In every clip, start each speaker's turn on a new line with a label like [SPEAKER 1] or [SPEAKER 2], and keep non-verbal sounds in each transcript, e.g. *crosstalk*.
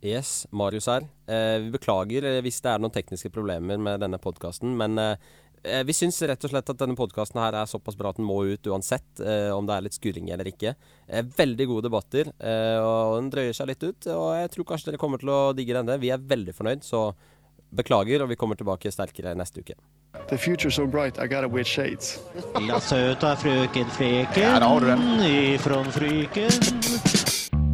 [SPEAKER 1] Yes, Marius her. Eh, vi beklager eh, hvis det er noen tekniske problemer med denne podkasten, men eh, eh, vi syns rett og slett at denne podkasten her er såpass bra at den må ut uansett, eh, om det er litt skurring eller ikke. Eh, veldig gode debatter, eh, og den drøyer seg litt ut, og jeg tror kanskje dere kommer til å digge denne. Vi er veldig fornøyd, så beklager, og vi kommer tilbake sterkere neste uke.
[SPEAKER 2] The future's so bright, I gotta wear shades.
[SPEAKER 3] Lilla søta frøken Fleken
[SPEAKER 4] Der har du den.
[SPEAKER 3] ifrån Fryken.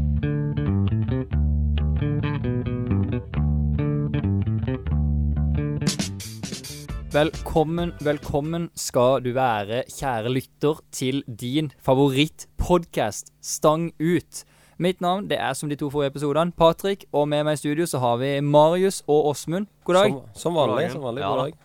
[SPEAKER 5] Velkommen, velkommen skal du være, kjære lytter, til din favorittpodkast, Stang ut. Mitt navn det er som de to forrige episodene, Patrick, og med meg i studio så har vi Marius og Åsmund. God dag.
[SPEAKER 1] Som, som vanlig.
[SPEAKER 6] God dag.
[SPEAKER 1] Som vanlig.
[SPEAKER 6] Ja
[SPEAKER 1] God
[SPEAKER 6] da.
[SPEAKER 1] dag.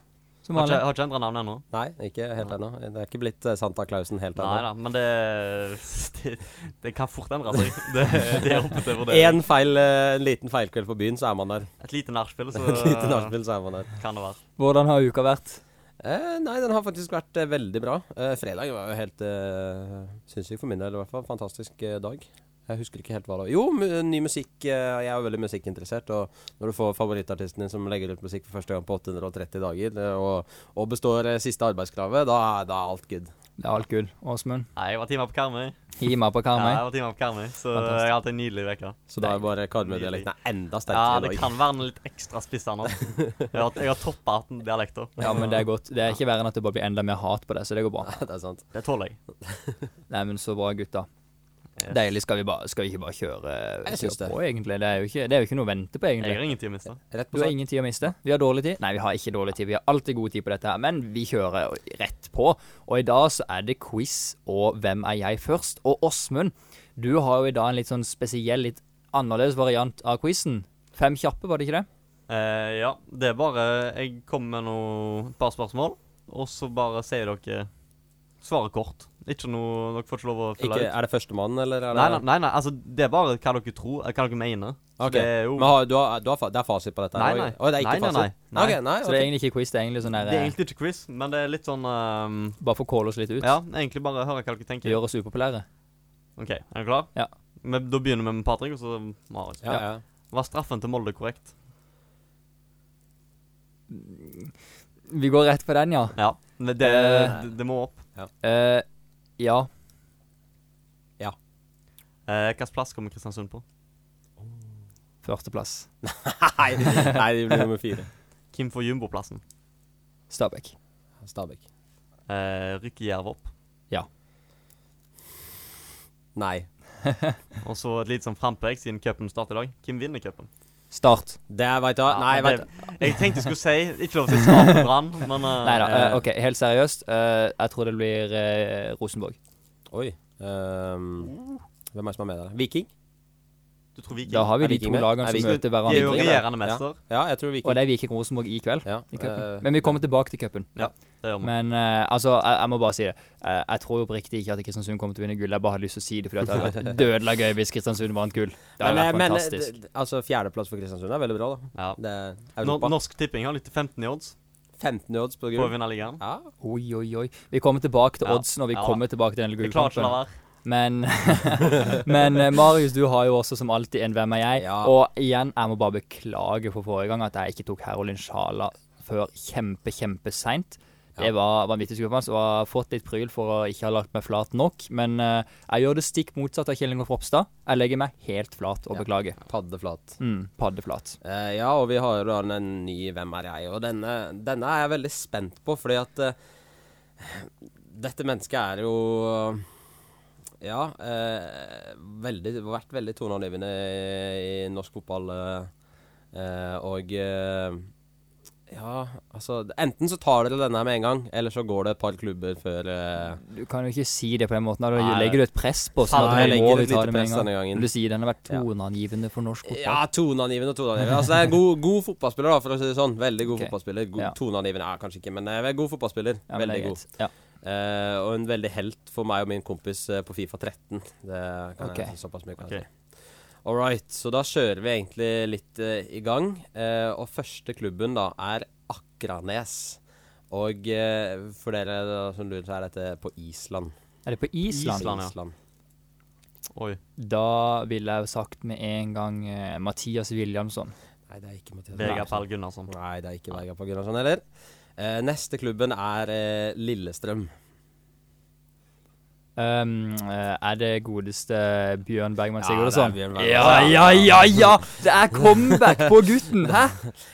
[SPEAKER 5] Som
[SPEAKER 6] Har
[SPEAKER 5] vanlig.
[SPEAKER 6] ikke, har ikke endra navn ennå.
[SPEAKER 1] Nei, ikke helt ennå. Det er ikke blitt eh, Santa Clausen helt
[SPEAKER 6] Nei
[SPEAKER 1] ennå.
[SPEAKER 6] da, men det, det, *laughs* det kan fort endre seg. Det, det er oppe til vurdering.
[SPEAKER 1] Én feil, eh, en liten feilkveld på byen, så er man der.
[SPEAKER 6] Et lite nachspiel, så
[SPEAKER 1] Et lite nachspiel, så er man der.
[SPEAKER 6] kan det være.
[SPEAKER 5] Hvordan har uka vært?
[SPEAKER 1] Eh, nei, den har faktisk vært eh, veldig bra. Eh, fredag var jo helt eh, sinnssyk for min del, i hvert fall. Fantastisk eh, dag. Jeg husker ikke helt hva det var. Jo, mu- ny musikk. Eh, jeg er jo veldig musikkinteressert. Og når du får favorittartisten din som legger ut musikk for første gang på 830 dager, eh, og, og består eh, siste arbeidskravet, da, er- da er alt good.
[SPEAKER 5] Det er alt gull, Åsmund.
[SPEAKER 6] Nei, jeg var timer på Karmøy.
[SPEAKER 5] Gi meg på
[SPEAKER 6] Ja,
[SPEAKER 5] Karmøy.
[SPEAKER 6] jeg var timer på Karmøy, så
[SPEAKER 5] Fantastisk.
[SPEAKER 6] jeg har hatt en nydelig uke.
[SPEAKER 1] Så da er bare Karmøy-dialekten er enda
[SPEAKER 6] Ja,
[SPEAKER 1] sterkere i
[SPEAKER 6] det
[SPEAKER 1] dag.
[SPEAKER 6] kan være den litt ekstra spissa nå. Jeg har, jeg har toppa 18 dialekter.
[SPEAKER 5] Ja, men det er godt. Det er ikke verre enn at det bare blir enda mer hat på det, så det går bra.
[SPEAKER 1] *laughs* det er sant.
[SPEAKER 6] Det tåler jeg.
[SPEAKER 5] Nei, men så bra, gutta.
[SPEAKER 6] Yes.
[SPEAKER 5] Deilig. Skal vi, bare, skal vi ikke bare kjøre,
[SPEAKER 1] Jeg syns
[SPEAKER 5] kjøre
[SPEAKER 1] det.
[SPEAKER 5] på, egentlig? Det er, jo ikke, det er jo ikke noe å vente på, egentlig.
[SPEAKER 6] Jeg har ingen tid å miste.
[SPEAKER 1] Rett
[SPEAKER 5] Du
[SPEAKER 1] på
[SPEAKER 5] har
[SPEAKER 1] sak.
[SPEAKER 5] ingen tid å miste. Vi har dårlig tid. Nei, vi har ikke dårlig tid. Vi har alltid god tid på dette her, men vi kjører rett på. Og i dag så er det quiz og Hvem er jeg først? Og Åsmund, du har jo i dag en litt sånn spesiell, litt annerledes variant av quizen. Fem kjappe, var det ikke det?
[SPEAKER 6] Eh, ja, det er bare Jeg kommer med noe, et par spørsmål, og så bare sier dere Svaret kort. Ikke noe Dere får ikke lov å fylle
[SPEAKER 1] Ikke,
[SPEAKER 6] ut.
[SPEAKER 1] er det førstemann, eller er det
[SPEAKER 6] Nei, nei, nei, nei, altså det er bare hva dere tror, eh, hva dere mener.
[SPEAKER 1] Ok.
[SPEAKER 6] Det er jo
[SPEAKER 1] Men har, du har, du har, fa- det er fasit på dette? her?
[SPEAKER 6] Nei, nei.
[SPEAKER 1] Oi, det er ikke
[SPEAKER 6] Nei, nei, nei.
[SPEAKER 1] fasit? Nei, ok, nei,
[SPEAKER 5] Så det er
[SPEAKER 1] ok.
[SPEAKER 5] egentlig ikke quiz, det er egentlig sånn
[SPEAKER 6] Det er
[SPEAKER 5] der
[SPEAKER 6] egentlig ikke quiz, men det er litt sånn ehm,
[SPEAKER 5] Bare for å calle oss litt ut.
[SPEAKER 6] Ja, egentlig bare høre hva dere tenker.
[SPEAKER 5] Gjøre oss upopulære.
[SPEAKER 6] OK, er dere klar?
[SPEAKER 5] Ja.
[SPEAKER 6] Men da begynner vi med Patrick, og så Marius.
[SPEAKER 1] ja, ja.
[SPEAKER 6] Var straffen til Molde korrekt?
[SPEAKER 5] Vi går rett på den, ja.
[SPEAKER 6] Ja. men Det,
[SPEAKER 5] Eh.
[SPEAKER 6] det, det må opp.
[SPEAKER 5] Eh, ja.
[SPEAKER 6] Uh, Hvilken plass kommer Kristiansund på?
[SPEAKER 5] Førsteplass.
[SPEAKER 1] Nei, nei, de blir nummer fire.
[SPEAKER 6] Hvem får jumboplassen?
[SPEAKER 5] Stabæk.
[SPEAKER 1] Stabæk.
[SPEAKER 6] Uh, rykker Jerv opp?
[SPEAKER 1] Nei.
[SPEAKER 6] Og så et lite sånn frampek siden cupen starter i dag. Hvem vinner cupen?
[SPEAKER 5] Start.
[SPEAKER 1] Det er, veit du hva Ah, Nei,
[SPEAKER 6] Ja,
[SPEAKER 1] veit
[SPEAKER 6] det- Jeg tenkte jeg skulle si Ikke lov til å svare på Brann, men eh,
[SPEAKER 5] Nei da.
[SPEAKER 6] eh,
[SPEAKER 5] OK, helt seriøst. eh, jeg tror det blir eh, Rosenborg.
[SPEAKER 1] Oi. ehm, hvem er det som er med der? Viking?
[SPEAKER 6] Du tror Viking
[SPEAKER 5] Da har vi
[SPEAKER 1] Er
[SPEAKER 5] de to
[SPEAKER 1] Viking med?
[SPEAKER 5] lagene
[SPEAKER 1] Er
[SPEAKER 5] som
[SPEAKER 1] Viking-
[SPEAKER 5] møter
[SPEAKER 6] De er jo
[SPEAKER 5] hverandre.
[SPEAKER 6] regjerende mester.
[SPEAKER 1] Ja, jeg tror Viking.
[SPEAKER 5] Og det er Viking Rosenborg i kveld.
[SPEAKER 1] ja.
[SPEAKER 5] I cupen.
[SPEAKER 1] eh,
[SPEAKER 5] Men vi kommer tilbake til cupen.
[SPEAKER 6] Det gjør vi.
[SPEAKER 5] Men eh, altså, jeg, jeg må bare si det. Eh, jeg tror oppriktig ikke at Kristiansund kommer til å vinne gull. Jeg bare hadde lyst til å si det fordi at det hadde vært dødelig gøy hvis Kristiansund vant gull. Det hadde
[SPEAKER 1] men,
[SPEAKER 5] vært
[SPEAKER 1] men
[SPEAKER 5] fantastisk.
[SPEAKER 1] d- d- altså, fjerdeplass for Kristiansund er veldig bra, da.
[SPEAKER 6] Ja.
[SPEAKER 1] Det er
[SPEAKER 6] Nor-
[SPEAKER 1] Europa.
[SPEAKER 6] Norsk Tipping har litt til 15 i odds
[SPEAKER 1] 15 i odds på
[SPEAKER 6] på å
[SPEAKER 1] grunn.
[SPEAKER 6] vinne ligaen.
[SPEAKER 1] Ja.
[SPEAKER 5] Oi, oi, oi. Vi kommer tilbake til
[SPEAKER 6] Ja.
[SPEAKER 5] odds når vi
[SPEAKER 6] Ja.
[SPEAKER 5] kommer tilbake til denne
[SPEAKER 6] Jeg klarer ikke å
[SPEAKER 5] gullkampen.
[SPEAKER 6] la være.
[SPEAKER 5] *laughs* Men, men eh, Marius, du har jo også som alltid en Hvem er jeg?
[SPEAKER 1] Ja.
[SPEAKER 5] Og igjen, jeg må bare beklage for forrige gang at jeg ikke tok Herolin Sjala før kjempe, kjempeseint. Det
[SPEAKER 1] Ja.
[SPEAKER 5] var vanvittig skuffende, og jeg har fått litt pryl for å ikke ha lagt meg flat nok. Men eh, jeg gjør det stikk motsatt av Kjell Ingolf Ropstad. Jeg legger meg helt flat og
[SPEAKER 1] Ja.
[SPEAKER 5] beklager.
[SPEAKER 1] Paddeflat.
[SPEAKER 5] Mm, paddeflat.
[SPEAKER 1] Eh, ja, og vi har jo da en ny Hvem er jeg? Og denne, denne er jeg veldig spent på, fordi at eh, dette mennesket er jo Ja, eh, veldig, vært veldig toneangivende i, i norsk fotball. eh, eh, og eh, ja, altså Enten så tar dere denne med en gang, eller så går det et par klubber før eh,
[SPEAKER 5] Du kan jo ikke si det på den måten. Da
[SPEAKER 1] Nei.
[SPEAKER 5] legger du et press på oss. Sånn
[SPEAKER 1] Nei,
[SPEAKER 5] at
[SPEAKER 1] jeg
[SPEAKER 5] vi må
[SPEAKER 1] legger et
[SPEAKER 5] vi ta
[SPEAKER 1] lite
[SPEAKER 5] det med
[SPEAKER 1] press
[SPEAKER 5] en
[SPEAKER 1] denne gangen.
[SPEAKER 5] gang. Du sier den har vært
[SPEAKER 1] Ja.
[SPEAKER 5] toneangivende for norsk fotball.
[SPEAKER 1] Ja, toneangivende og toneangivende. Altså, det er en god, god fotballspiller, da, for å si det sånn. Veldig god
[SPEAKER 5] Ok.
[SPEAKER 1] fotballspiller. God,
[SPEAKER 5] Ja.
[SPEAKER 1] Toneangivende ja, kanskje ikke, men eh, god fotballspiller.
[SPEAKER 5] Ja, men det
[SPEAKER 1] veldig
[SPEAKER 5] er
[SPEAKER 1] god.
[SPEAKER 5] greit. Ja.
[SPEAKER 1] Eh, og en veldig helt for meg og min kompis eh, på Fifa 13. Det kan
[SPEAKER 5] Ok.
[SPEAKER 1] jeg si såpass mye kan
[SPEAKER 6] Ok.
[SPEAKER 1] jeg si. All right, så da kjører vi egentlig litt eh, i gang. Eh, og første klubben da er Akranes. Og eh, for dere da, som lurer, så er dette på Island.
[SPEAKER 5] Er det på Island?
[SPEAKER 6] Island, ja. Oi.
[SPEAKER 5] Da ville jeg jo sagt med en gang eh, Mathias Williamson.
[SPEAKER 1] Nei, altså. det er ikke Mathias
[SPEAKER 6] Vegard Pall Gunnarsson. *laughs*
[SPEAKER 1] Nei, det er ikke Vegard Pall Gunnarsson sånn heller. Eh, neste klubben er eh, Lillestrøm.
[SPEAKER 5] Um, eh, er det godeste Bjørn Bergman
[SPEAKER 1] Ja,
[SPEAKER 5] Sigurdsson?
[SPEAKER 1] det er Bjørn Bergman.
[SPEAKER 5] Ja, ja, ja, ja! Det er comeback på gutten! Hæ?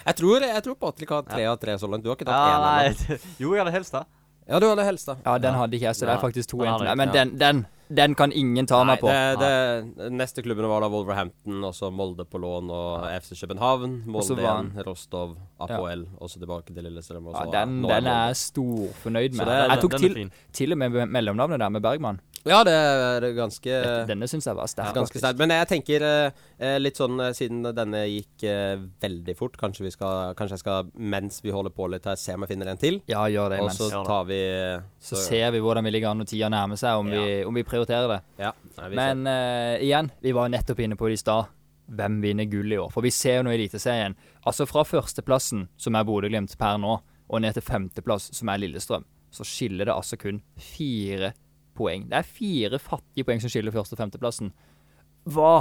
[SPEAKER 1] Jeg tror, jeg tror Patrick har tre av tre så langt. Du har ikke tatt én
[SPEAKER 6] Ja,
[SPEAKER 1] ennå.
[SPEAKER 6] nei. Jo, jeg hadde helst det.
[SPEAKER 1] Ja, du hadde helst, da.
[SPEAKER 5] Ja, den hadde ikke jeg, så det er faktisk to
[SPEAKER 6] den
[SPEAKER 5] igjen
[SPEAKER 6] hadde
[SPEAKER 5] til meg.
[SPEAKER 6] jeg
[SPEAKER 5] Men
[SPEAKER 1] ikke, ja.
[SPEAKER 5] den, den, den kan ingen ta
[SPEAKER 1] Nei,
[SPEAKER 5] meg på.
[SPEAKER 1] det, det, neste klubben var da Wolverhampton, og så Molde på lån og FC København.
[SPEAKER 5] så
[SPEAKER 1] Molde
[SPEAKER 5] var
[SPEAKER 1] igjen,
[SPEAKER 5] han-
[SPEAKER 1] Rostov, APOL, og så tilbake til Lillestrøm. Og
[SPEAKER 5] Ja,
[SPEAKER 1] så,
[SPEAKER 5] den,
[SPEAKER 1] nå
[SPEAKER 5] den
[SPEAKER 1] Molde.
[SPEAKER 5] er jeg storfornøyd
[SPEAKER 1] Så
[SPEAKER 5] med.
[SPEAKER 1] det er-
[SPEAKER 5] Jeg tok
[SPEAKER 6] den er
[SPEAKER 5] til,
[SPEAKER 6] fin.
[SPEAKER 5] til og med me- mellomnavnet der med Bergman.
[SPEAKER 1] Ja, det er ganske
[SPEAKER 5] Denne syns jeg var sterk.
[SPEAKER 1] Ganske
[SPEAKER 5] faktisk.
[SPEAKER 1] sterkt. Men jeg tenker eh, eh, litt sånn eh, siden denne gikk eh, veldig fort Kanskje vi skal Kanskje jeg skal, mens vi holder på litt her, se om jeg finner en til.
[SPEAKER 5] Ja, gjør det
[SPEAKER 1] Og
[SPEAKER 5] imens.
[SPEAKER 1] så
[SPEAKER 6] Ja da.
[SPEAKER 1] tar vi eh,
[SPEAKER 5] Så ser vi hvordan vi ligger an når tida nærmer seg, om, vi, om vi prioriterer det.
[SPEAKER 1] Ja. Nei, vi
[SPEAKER 5] Men eh, igjen, vi var nettopp inne på det i stad. Hvem vinner gull i år? For vi ser jo nå i Eliteserien. Altså fra førsteplassen, som er Bodø-Glimt per nå, og ned til femteplass, som er Lillestrøm, så skiller det altså kun fire poeng. Det er fire fattige poeng som skiller første- og femteplassen. Hva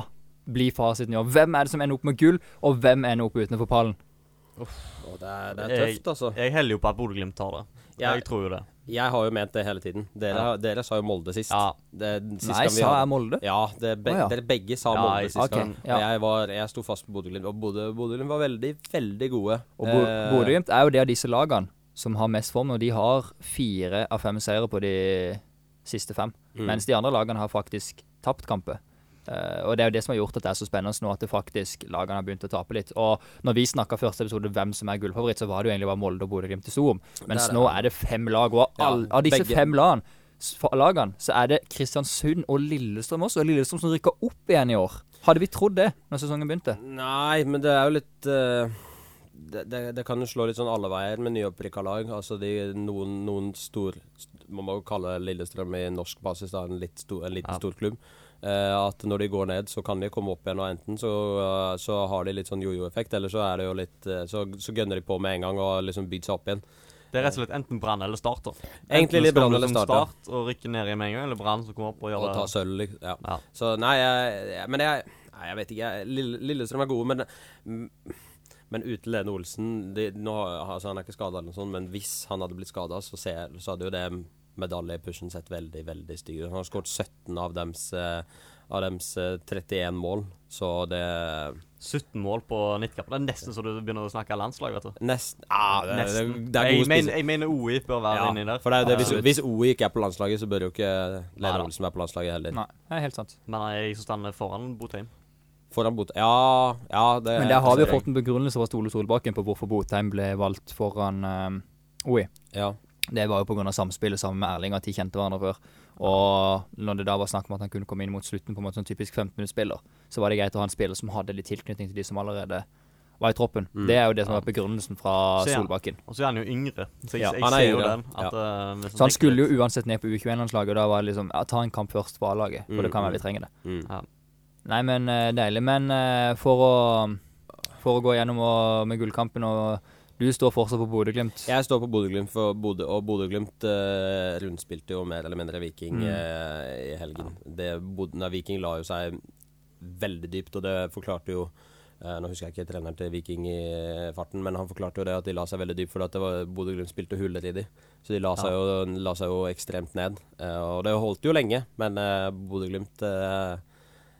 [SPEAKER 5] blir fasiten i år? Hvem er det som ender opp med gull, og hvem ender opp utenfor pallen?
[SPEAKER 1] ser. Å, det, er, det er tøft, altså.
[SPEAKER 6] Jeg heller jo på at Bodø-Glimt tar det.
[SPEAKER 1] Ja.
[SPEAKER 6] Jeg tror jo det.
[SPEAKER 1] Jeg har jo ment det hele tiden. Dere, dere sa jo Molde sist.
[SPEAKER 6] Ja.
[SPEAKER 1] Det, sist
[SPEAKER 5] Nei,
[SPEAKER 1] gang vi
[SPEAKER 5] sa
[SPEAKER 1] hadde-
[SPEAKER 5] jeg Molde?
[SPEAKER 1] Ja, det be,
[SPEAKER 5] Å, ja.
[SPEAKER 1] dere begge sa
[SPEAKER 6] Ja,
[SPEAKER 1] Molde
[SPEAKER 6] jeg-
[SPEAKER 1] sist
[SPEAKER 5] ok,
[SPEAKER 1] gang.
[SPEAKER 5] ja.
[SPEAKER 1] Og jeg, var, jeg sto fast på Bodø-Glimt, og Bodø- Bodø-Glimt var veldig, veldig gode.
[SPEAKER 5] Og Bo-
[SPEAKER 1] Eh,
[SPEAKER 5] Bodø-Glimt er jo det av disse lagene som har mest form, og de har fire av fem seire på de siste fem.
[SPEAKER 1] Mm.
[SPEAKER 5] Mens de andre lagene har faktisk tapt kamper. Eh, og det er jo det som har gjort at det er så spennende nå, at det faktisk lagene har begynt å tape litt. Og når vi snakka første episode hvem som er gullfavoritt, så var det jo egentlig bare Molde og Bodø-Glimt det sto om. Mens
[SPEAKER 1] Det er det.
[SPEAKER 5] nå er det fem lag, og all,
[SPEAKER 1] Ja,
[SPEAKER 5] av disse
[SPEAKER 1] begge.
[SPEAKER 5] fem lagene, s- fa- lagene så er det Kristiansund og Lillestrøm også. Og Lillestrøm som rykker opp igjen i år. Hadde vi trodd det når sesongen begynte?
[SPEAKER 1] Mm. Nei, men det er jo litt eh, det, det, det kan jo slå litt sånn alle veier med nyopprykka lag. Altså de, noen, noen stor st- Man må jo kalle Lillestrøm i norsk basis da, en, litt stor, en liten
[SPEAKER 6] Ja.
[SPEAKER 1] stor klubb. Eh, at når de går ned, så kan de komme opp igjen, og enten så, eh, så har de litt sånn jojo-effekt, eller så er det jo litt eh, Så, så gønner de på med en gang og liksom bygd seg opp igjen.
[SPEAKER 6] Det er rett og slett enten Brann eller Start. da.
[SPEAKER 1] Egentlig litt
[SPEAKER 6] skal
[SPEAKER 1] Brann
[SPEAKER 6] du
[SPEAKER 1] eller
[SPEAKER 6] som
[SPEAKER 1] Start, ja.
[SPEAKER 6] start og rykke ned igjen med en gang, eller Brann som kommer opp og gjør
[SPEAKER 1] Og ta
[SPEAKER 6] det.
[SPEAKER 1] sølv, liksom. Ja.
[SPEAKER 6] Ja.
[SPEAKER 1] Så nei, jeg, jeg- men jeg Nei, jeg vet ikke. Jeg, Lille, Lillestrøm er gode, men mm, men uten Lene Olsen de, nå, har- altså Han er ikke skada, men hvis han hadde blitt skada, så, ser- så hadde jo det medaljepushen sett veldig veldig stygg ut. Han har skåret 17 av dems, eh, av dems eh, 31 mål, så det
[SPEAKER 6] 17 mål på 90 kamper. Det er nesten så du begynner å snakke landslag, vet du.
[SPEAKER 1] Nest, ah, det,
[SPEAKER 6] Nesten.
[SPEAKER 1] Det, det er god
[SPEAKER 6] jeg, mener,
[SPEAKER 1] spise.
[SPEAKER 6] jeg mener OI bør være
[SPEAKER 1] Ja,
[SPEAKER 6] inni der.
[SPEAKER 1] for det er jo det, hvis,
[SPEAKER 6] Absolutt.
[SPEAKER 1] hvis OI ikke er på landslaget, så bør jo ikke
[SPEAKER 6] Nei
[SPEAKER 1] Lene
[SPEAKER 6] da.
[SPEAKER 1] Olsen være på landslaget heller.
[SPEAKER 5] Nei, det er helt sant.
[SPEAKER 6] Men jeg som står foran Botheim.
[SPEAKER 1] Foran Bot... Ja, ja det
[SPEAKER 5] Men der har vi jo
[SPEAKER 1] jeg-
[SPEAKER 5] fått en begrunnelse fra Stole Solbakken på hvorfor Botheim ble valgt foran eh, OI.
[SPEAKER 1] ja.
[SPEAKER 5] Det var jo pga. samspillet sammen med Erling, at de kjente hverandre før. Og når det da var snakk om at han kunne komme inn mot slutten på en måte sånn typisk 15-minuttsspiller, så var det greit å ha en spiller som hadde litt tilknytning til de som allerede var i troppen. Det er jo det som var begrunnelsen fra
[SPEAKER 6] Så ja.
[SPEAKER 5] Solbakken.
[SPEAKER 6] Og så er han jo yngre. Så jeg,
[SPEAKER 1] Ja,
[SPEAKER 6] jeg
[SPEAKER 1] han er
[SPEAKER 6] ser jo
[SPEAKER 1] yngre.
[SPEAKER 6] den. At, eh, hvis
[SPEAKER 5] Så han
[SPEAKER 6] tenker
[SPEAKER 5] skulle
[SPEAKER 6] litt-
[SPEAKER 5] jo uansett ned på U21-landslaget, og da var det liksom ja, ta en kamp først på A-laget, for det kan være vi trenger det.
[SPEAKER 6] ja.
[SPEAKER 5] Nei, men eh, deilig. Men eh, for å, for å gå gjennom og, med gullkampen, og du står fortsatt på Bodø-Glimt.
[SPEAKER 1] Jeg står på Bodø-Glimt, for Bodø, og Bodø-Glimt eh, rundspilte jo mer eller mindre Viking
[SPEAKER 5] Mm.
[SPEAKER 1] eh, i helgen. Det, Bod- nei, Viking la jo seg veldig dypt, og det forklarte jo eh, Nå husker jeg ikke treneren til Viking i eh, farten, men han forklarte jo det at de la seg veldig dypt fordi at det var- Bodø-Glimt spilte huller i de. Så de la seg, jo, la seg jo ekstremt ned. Eh, og det holdt jo lenge, men eh, Bodø-Glimt eh,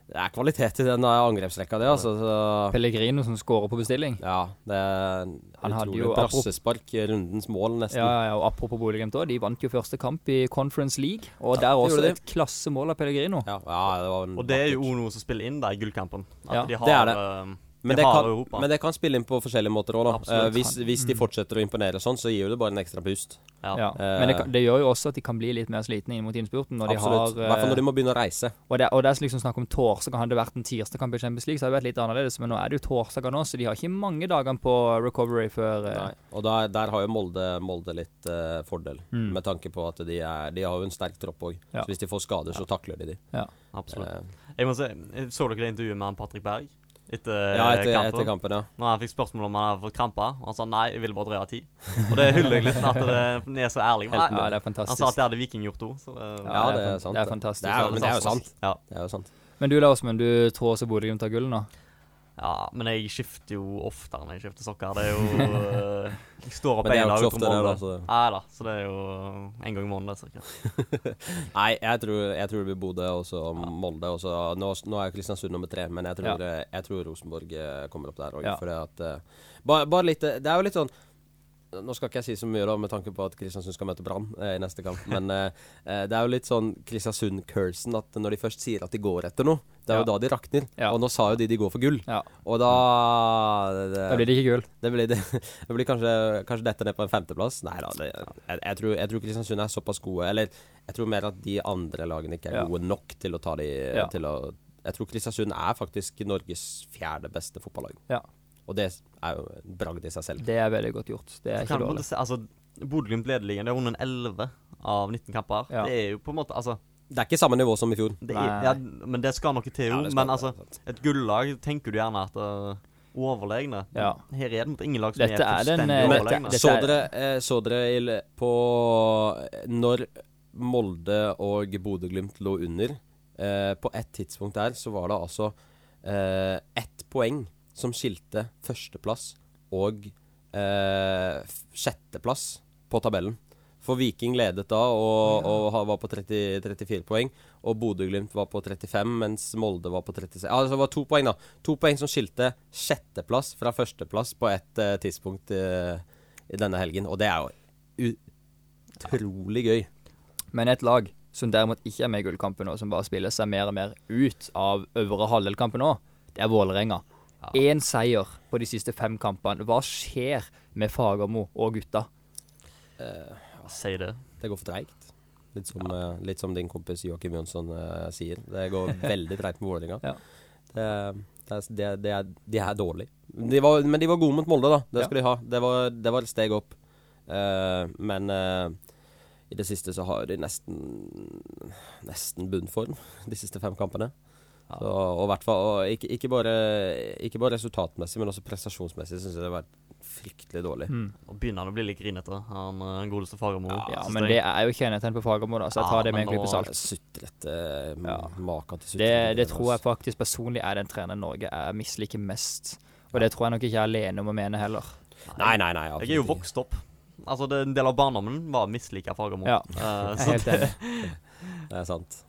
[SPEAKER 1] Det er kvalitet i den eh, angrepsrekka, det, altså. Så,
[SPEAKER 5] Pellegrino som skårer på bestilling.
[SPEAKER 1] ja, det er
[SPEAKER 5] Han hadde
[SPEAKER 1] utrolig
[SPEAKER 5] jo-
[SPEAKER 1] brassespark, rundens mål, nesten.
[SPEAKER 5] Ja, ja, ja, og Apropos Bodø-Glimt, også, de vant jo første kamp i Conference League. Og der også
[SPEAKER 1] gjorde de.
[SPEAKER 5] et klassemål av Pellegrino.
[SPEAKER 1] Ja, ja det var en
[SPEAKER 6] Og det er jo
[SPEAKER 1] vakker-
[SPEAKER 6] også noe som spiller inn da i gullkampen. At
[SPEAKER 5] Ja,
[SPEAKER 6] de har,
[SPEAKER 1] det er det.
[SPEAKER 6] eh,
[SPEAKER 1] men
[SPEAKER 6] de
[SPEAKER 1] det,
[SPEAKER 6] har
[SPEAKER 1] kan,
[SPEAKER 6] Europa.
[SPEAKER 1] men det kan spille inn på forskjellige måter òg, da.
[SPEAKER 6] Absolutt.
[SPEAKER 1] Eh, hvis, hvis de fortsetter å imponere sånn, så gir jo det bare en ekstra pust.
[SPEAKER 6] ja.
[SPEAKER 5] Ja. Men det, kan- det gjør jo også at de kan bli litt mer slitne inn mot innspurten. Når de har,
[SPEAKER 1] eh,
[SPEAKER 5] eh,
[SPEAKER 1] Absolutt. I hvert fall når de må begynne å reise.
[SPEAKER 5] Og det, og det er liksom snakk om torsdag. Hadde det vært en tirsdag, i Champions League, så hadde det vært litt annerledes. Men nå er det jo torsdager nå, så de har ikke mange dagene på recovery før eh,
[SPEAKER 1] Og der, der har jo Molde, Molde litt eh, fordel, med tanke på at de, er, de har jo en sterk tropp òg.
[SPEAKER 5] Ja.
[SPEAKER 1] Så hvis de får skader, så takler de de.
[SPEAKER 5] ja.
[SPEAKER 6] Absolutt.
[SPEAKER 1] Eh,
[SPEAKER 6] Jeg må se, Så dere det intervjuet med han Patrick Berg etter, eh,
[SPEAKER 1] ja, etter,
[SPEAKER 6] kampen?
[SPEAKER 1] etter kampen, ja.
[SPEAKER 6] Når han fikk spørsmål om han hadde fått krampe, og han sa nei, jeg ville bare drøye ti. Og det hyller jeg litt for at det- den er så ærlig. Men
[SPEAKER 5] Ja, det er
[SPEAKER 6] han
[SPEAKER 5] fantastisk.
[SPEAKER 6] sa at det hadde Viking gjort òg, så det,
[SPEAKER 1] Ja,
[SPEAKER 5] det
[SPEAKER 1] det
[SPEAKER 5] er
[SPEAKER 1] er
[SPEAKER 5] fan-
[SPEAKER 1] sant.
[SPEAKER 5] det er fantastisk.
[SPEAKER 1] Det er, men det er jo sant.
[SPEAKER 6] Ja.
[SPEAKER 1] Det er jo sant.
[SPEAKER 5] Men du, Lars, men du tror også Bodø-Glimt tar gull nå?
[SPEAKER 6] Ja, men jeg skifter jo oftere enn jeg skifter sokker. Det er jo eh, Jeg står opp
[SPEAKER 1] Men det er
[SPEAKER 6] en
[SPEAKER 1] jo
[SPEAKER 6] dag
[SPEAKER 1] ikke så
[SPEAKER 6] utom
[SPEAKER 1] ofte det, da.
[SPEAKER 6] måneden.
[SPEAKER 1] Så.
[SPEAKER 6] Nei da, så det er jo en gang i måneden, cirka.
[SPEAKER 1] Nei, jeg tror, jeg tror det blir Bodø og så Molde. Og så, nå, nå er jo Kristiansund nummer tre, men jeg tror, jeg tror Rosenborg eh, kommer opp der òg.
[SPEAKER 5] Ja.
[SPEAKER 1] eh, bare, bare litt eh, Det er jo litt sånn nå skal ikke jeg si så mye da, med tanke på at Kristiansund skal møte Brann eh, i neste kamp, men eh, eh, det er jo litt sånn Kristiansund-cursen at når de først sier at de går etter noe, det er jo da
[SPEAKER 5] Ja.
[SPEAKER 1] de rakner.
[SPEAKER 5] Ja.
[SPEAKER 1] Og nå sa jo de de går for gull,
[SPEAKER 5] Ja.
[SPEAKER 1] og da eh, det,
[SPEAKER 5] Da blir det ikke gull.
[SPEAKER 1] det blir, det, *laughs* det blir kanskje, kanskje dette ned på en femteplass. Nei da, det, jeg, jeg, tror, jeg tror Kristiansund er såpass gode. Eller jeg tror mer at de andre lagene ikke er
[SPEAKER 5] Ja.
[SPEAKER 1] gode nok til å ta de
[SPEAKER 5] Ja.
[SPEAKER 1] til å, Jeg tror Kristiansund er faktisk Norges fjerde beste fotballag.
[SPEAKER 5] Ja.
[SPEAKER 1] Og det er jo en bragd i seg selv.
[SPEAKER 5] Det er veldig godt gjort. Det er ikke
[SPEAKER 6] Kan på en måte
[SPEAKER 5] dårlig.
[SPEAKER 6] se- Altså, Bodø-Glimt leder ligaen. De har vunnet 11 av 19 kamper.
[SPEAKER 5] Ja.
[SPEAKER 6] Det er jo på en måte Altså,
[SPEAKER 1] Det er ikke samme nivå som i fjor.
[SPEAKER 6] det er,
[SPEAKER 5] Nei.
[SPEAKER 6] ja, men det skal noe til, jo.
[SPEAKER 1] Ja, det skal
[SPEAKER 6] men
[SPEAKER 1] det,
[SPEAKER 6] altså,
[SPEAKER 1] sant.
[SPEAKER 6] et gullag tenker du gjerne at uh, overlegne. Men
[SPEAKER 5] Ja.
[SPEAKER 6] Her er det mot ingen lag som
[SPEAKER 5] Dette er
[SPEAKER 6] er
[SPEAKER 5] den,
[SPEAKER 6] fullstendig
[SPEAKER 5] eh, dette-
[SPEAKER 6] overlegne.
[SPEAKER 5] dette-
[SPEAKER 1] så,
[SPEAKER 5] er-
[SPEAKER 1] dere, eh, så dere i l- på eh, Når Molde og Bodø-Glimt lå under, eh, på et tidspunkt der, så var det altså eh, ett poeng som skilte førsteplass og eh, f- sjetteplass på tabellen. For Viking ledet da og, og ha- var på 30, 34 poeng, og Bodø-Glimt var på 35, mens Molde var på 36 Altså det var to poeng, da. To poeng som skilte sjetteplass fra førsteplass på et eh, tidspunkt eh, i denne helgen, og det er jo utrolig gøy.
[SPEAKER 5] Men et lag som derimot ikke er med i gullkampen nå, som bare spiller seg mer og mer ut av øvre halvdelkampen nå, det er Vålerenga. Én seier på de siste fem kampene. Hva skjer med Fagermo og gutta?
[SPEAKER 6] Altså, Si det.
[SPEAKER 1] Det går for treigt. Litt, som, eh, litt som din kompis Joakim Jønsson eh, sier. Det går veldig treigt med Vålerenga.
[SPEAKER 5] Ja.
[SPEAKER 1] Det, det, er- det, det er, de er dårlige. De var, men de var gode mot Molde, da. Det skal de ha. Det var, det var et steg opp. Eh, men eh, i det siste så har de nesten Nesten bunnform *laughs* de siste fem kampene. Så, og i hvert fall, og ikke, ikke, bare, ikke bare resultatmessig, men også prestasjonsmessig syns jeg det har vært fryktelig dårlig.
[SPEAKER 6] Og begynner han å bli litt grinete, han eh, den godeste Fagermo.
[SPEAKER 5] Ja,
[SPEAKER 6] synes
[SPEAKER 5] men
[SPEAKER 6] jeg.
[SPEAKER 5] det er jo kjennetegn på Fagermo, da, så jeg
[SPEAKER 6] Ja,
[SPEAKER 5] tar det med
[SPEAKER 6] men
[SPEAKER 5] en klype
[SPEAKER 6] nå-
[SPEAKER 5] salt.
[SPEAKER 1] Sutrete ja.
[SPEAKER 5] Ja.
[SPEAKER 1] Maka eh, til sutrete.
[SPEAKER 5] Det, det tror jeg faktisk personlig er den treneren Norge jeg misliker mest. Og det tror jeg nok ikke jeg er alene om å mene heller.
[SPEAKER 1] Nei, nei, nei. absolutt
[SPEAKER 6] Jeg er jo
[SPEAKER 1] ikke.
[SPEAKER 6] vokst opp. Altså, det, En del av barndommen var å mislike Fagermo.
[SPEAKER 5] Ja.
[SPEAKER 6] Eh,
[SPEAKER 5] Jeg er
[SPEAKER 6] så
[SPEAKER 5] helt enig.
[SPEAKER 1] Det er sant.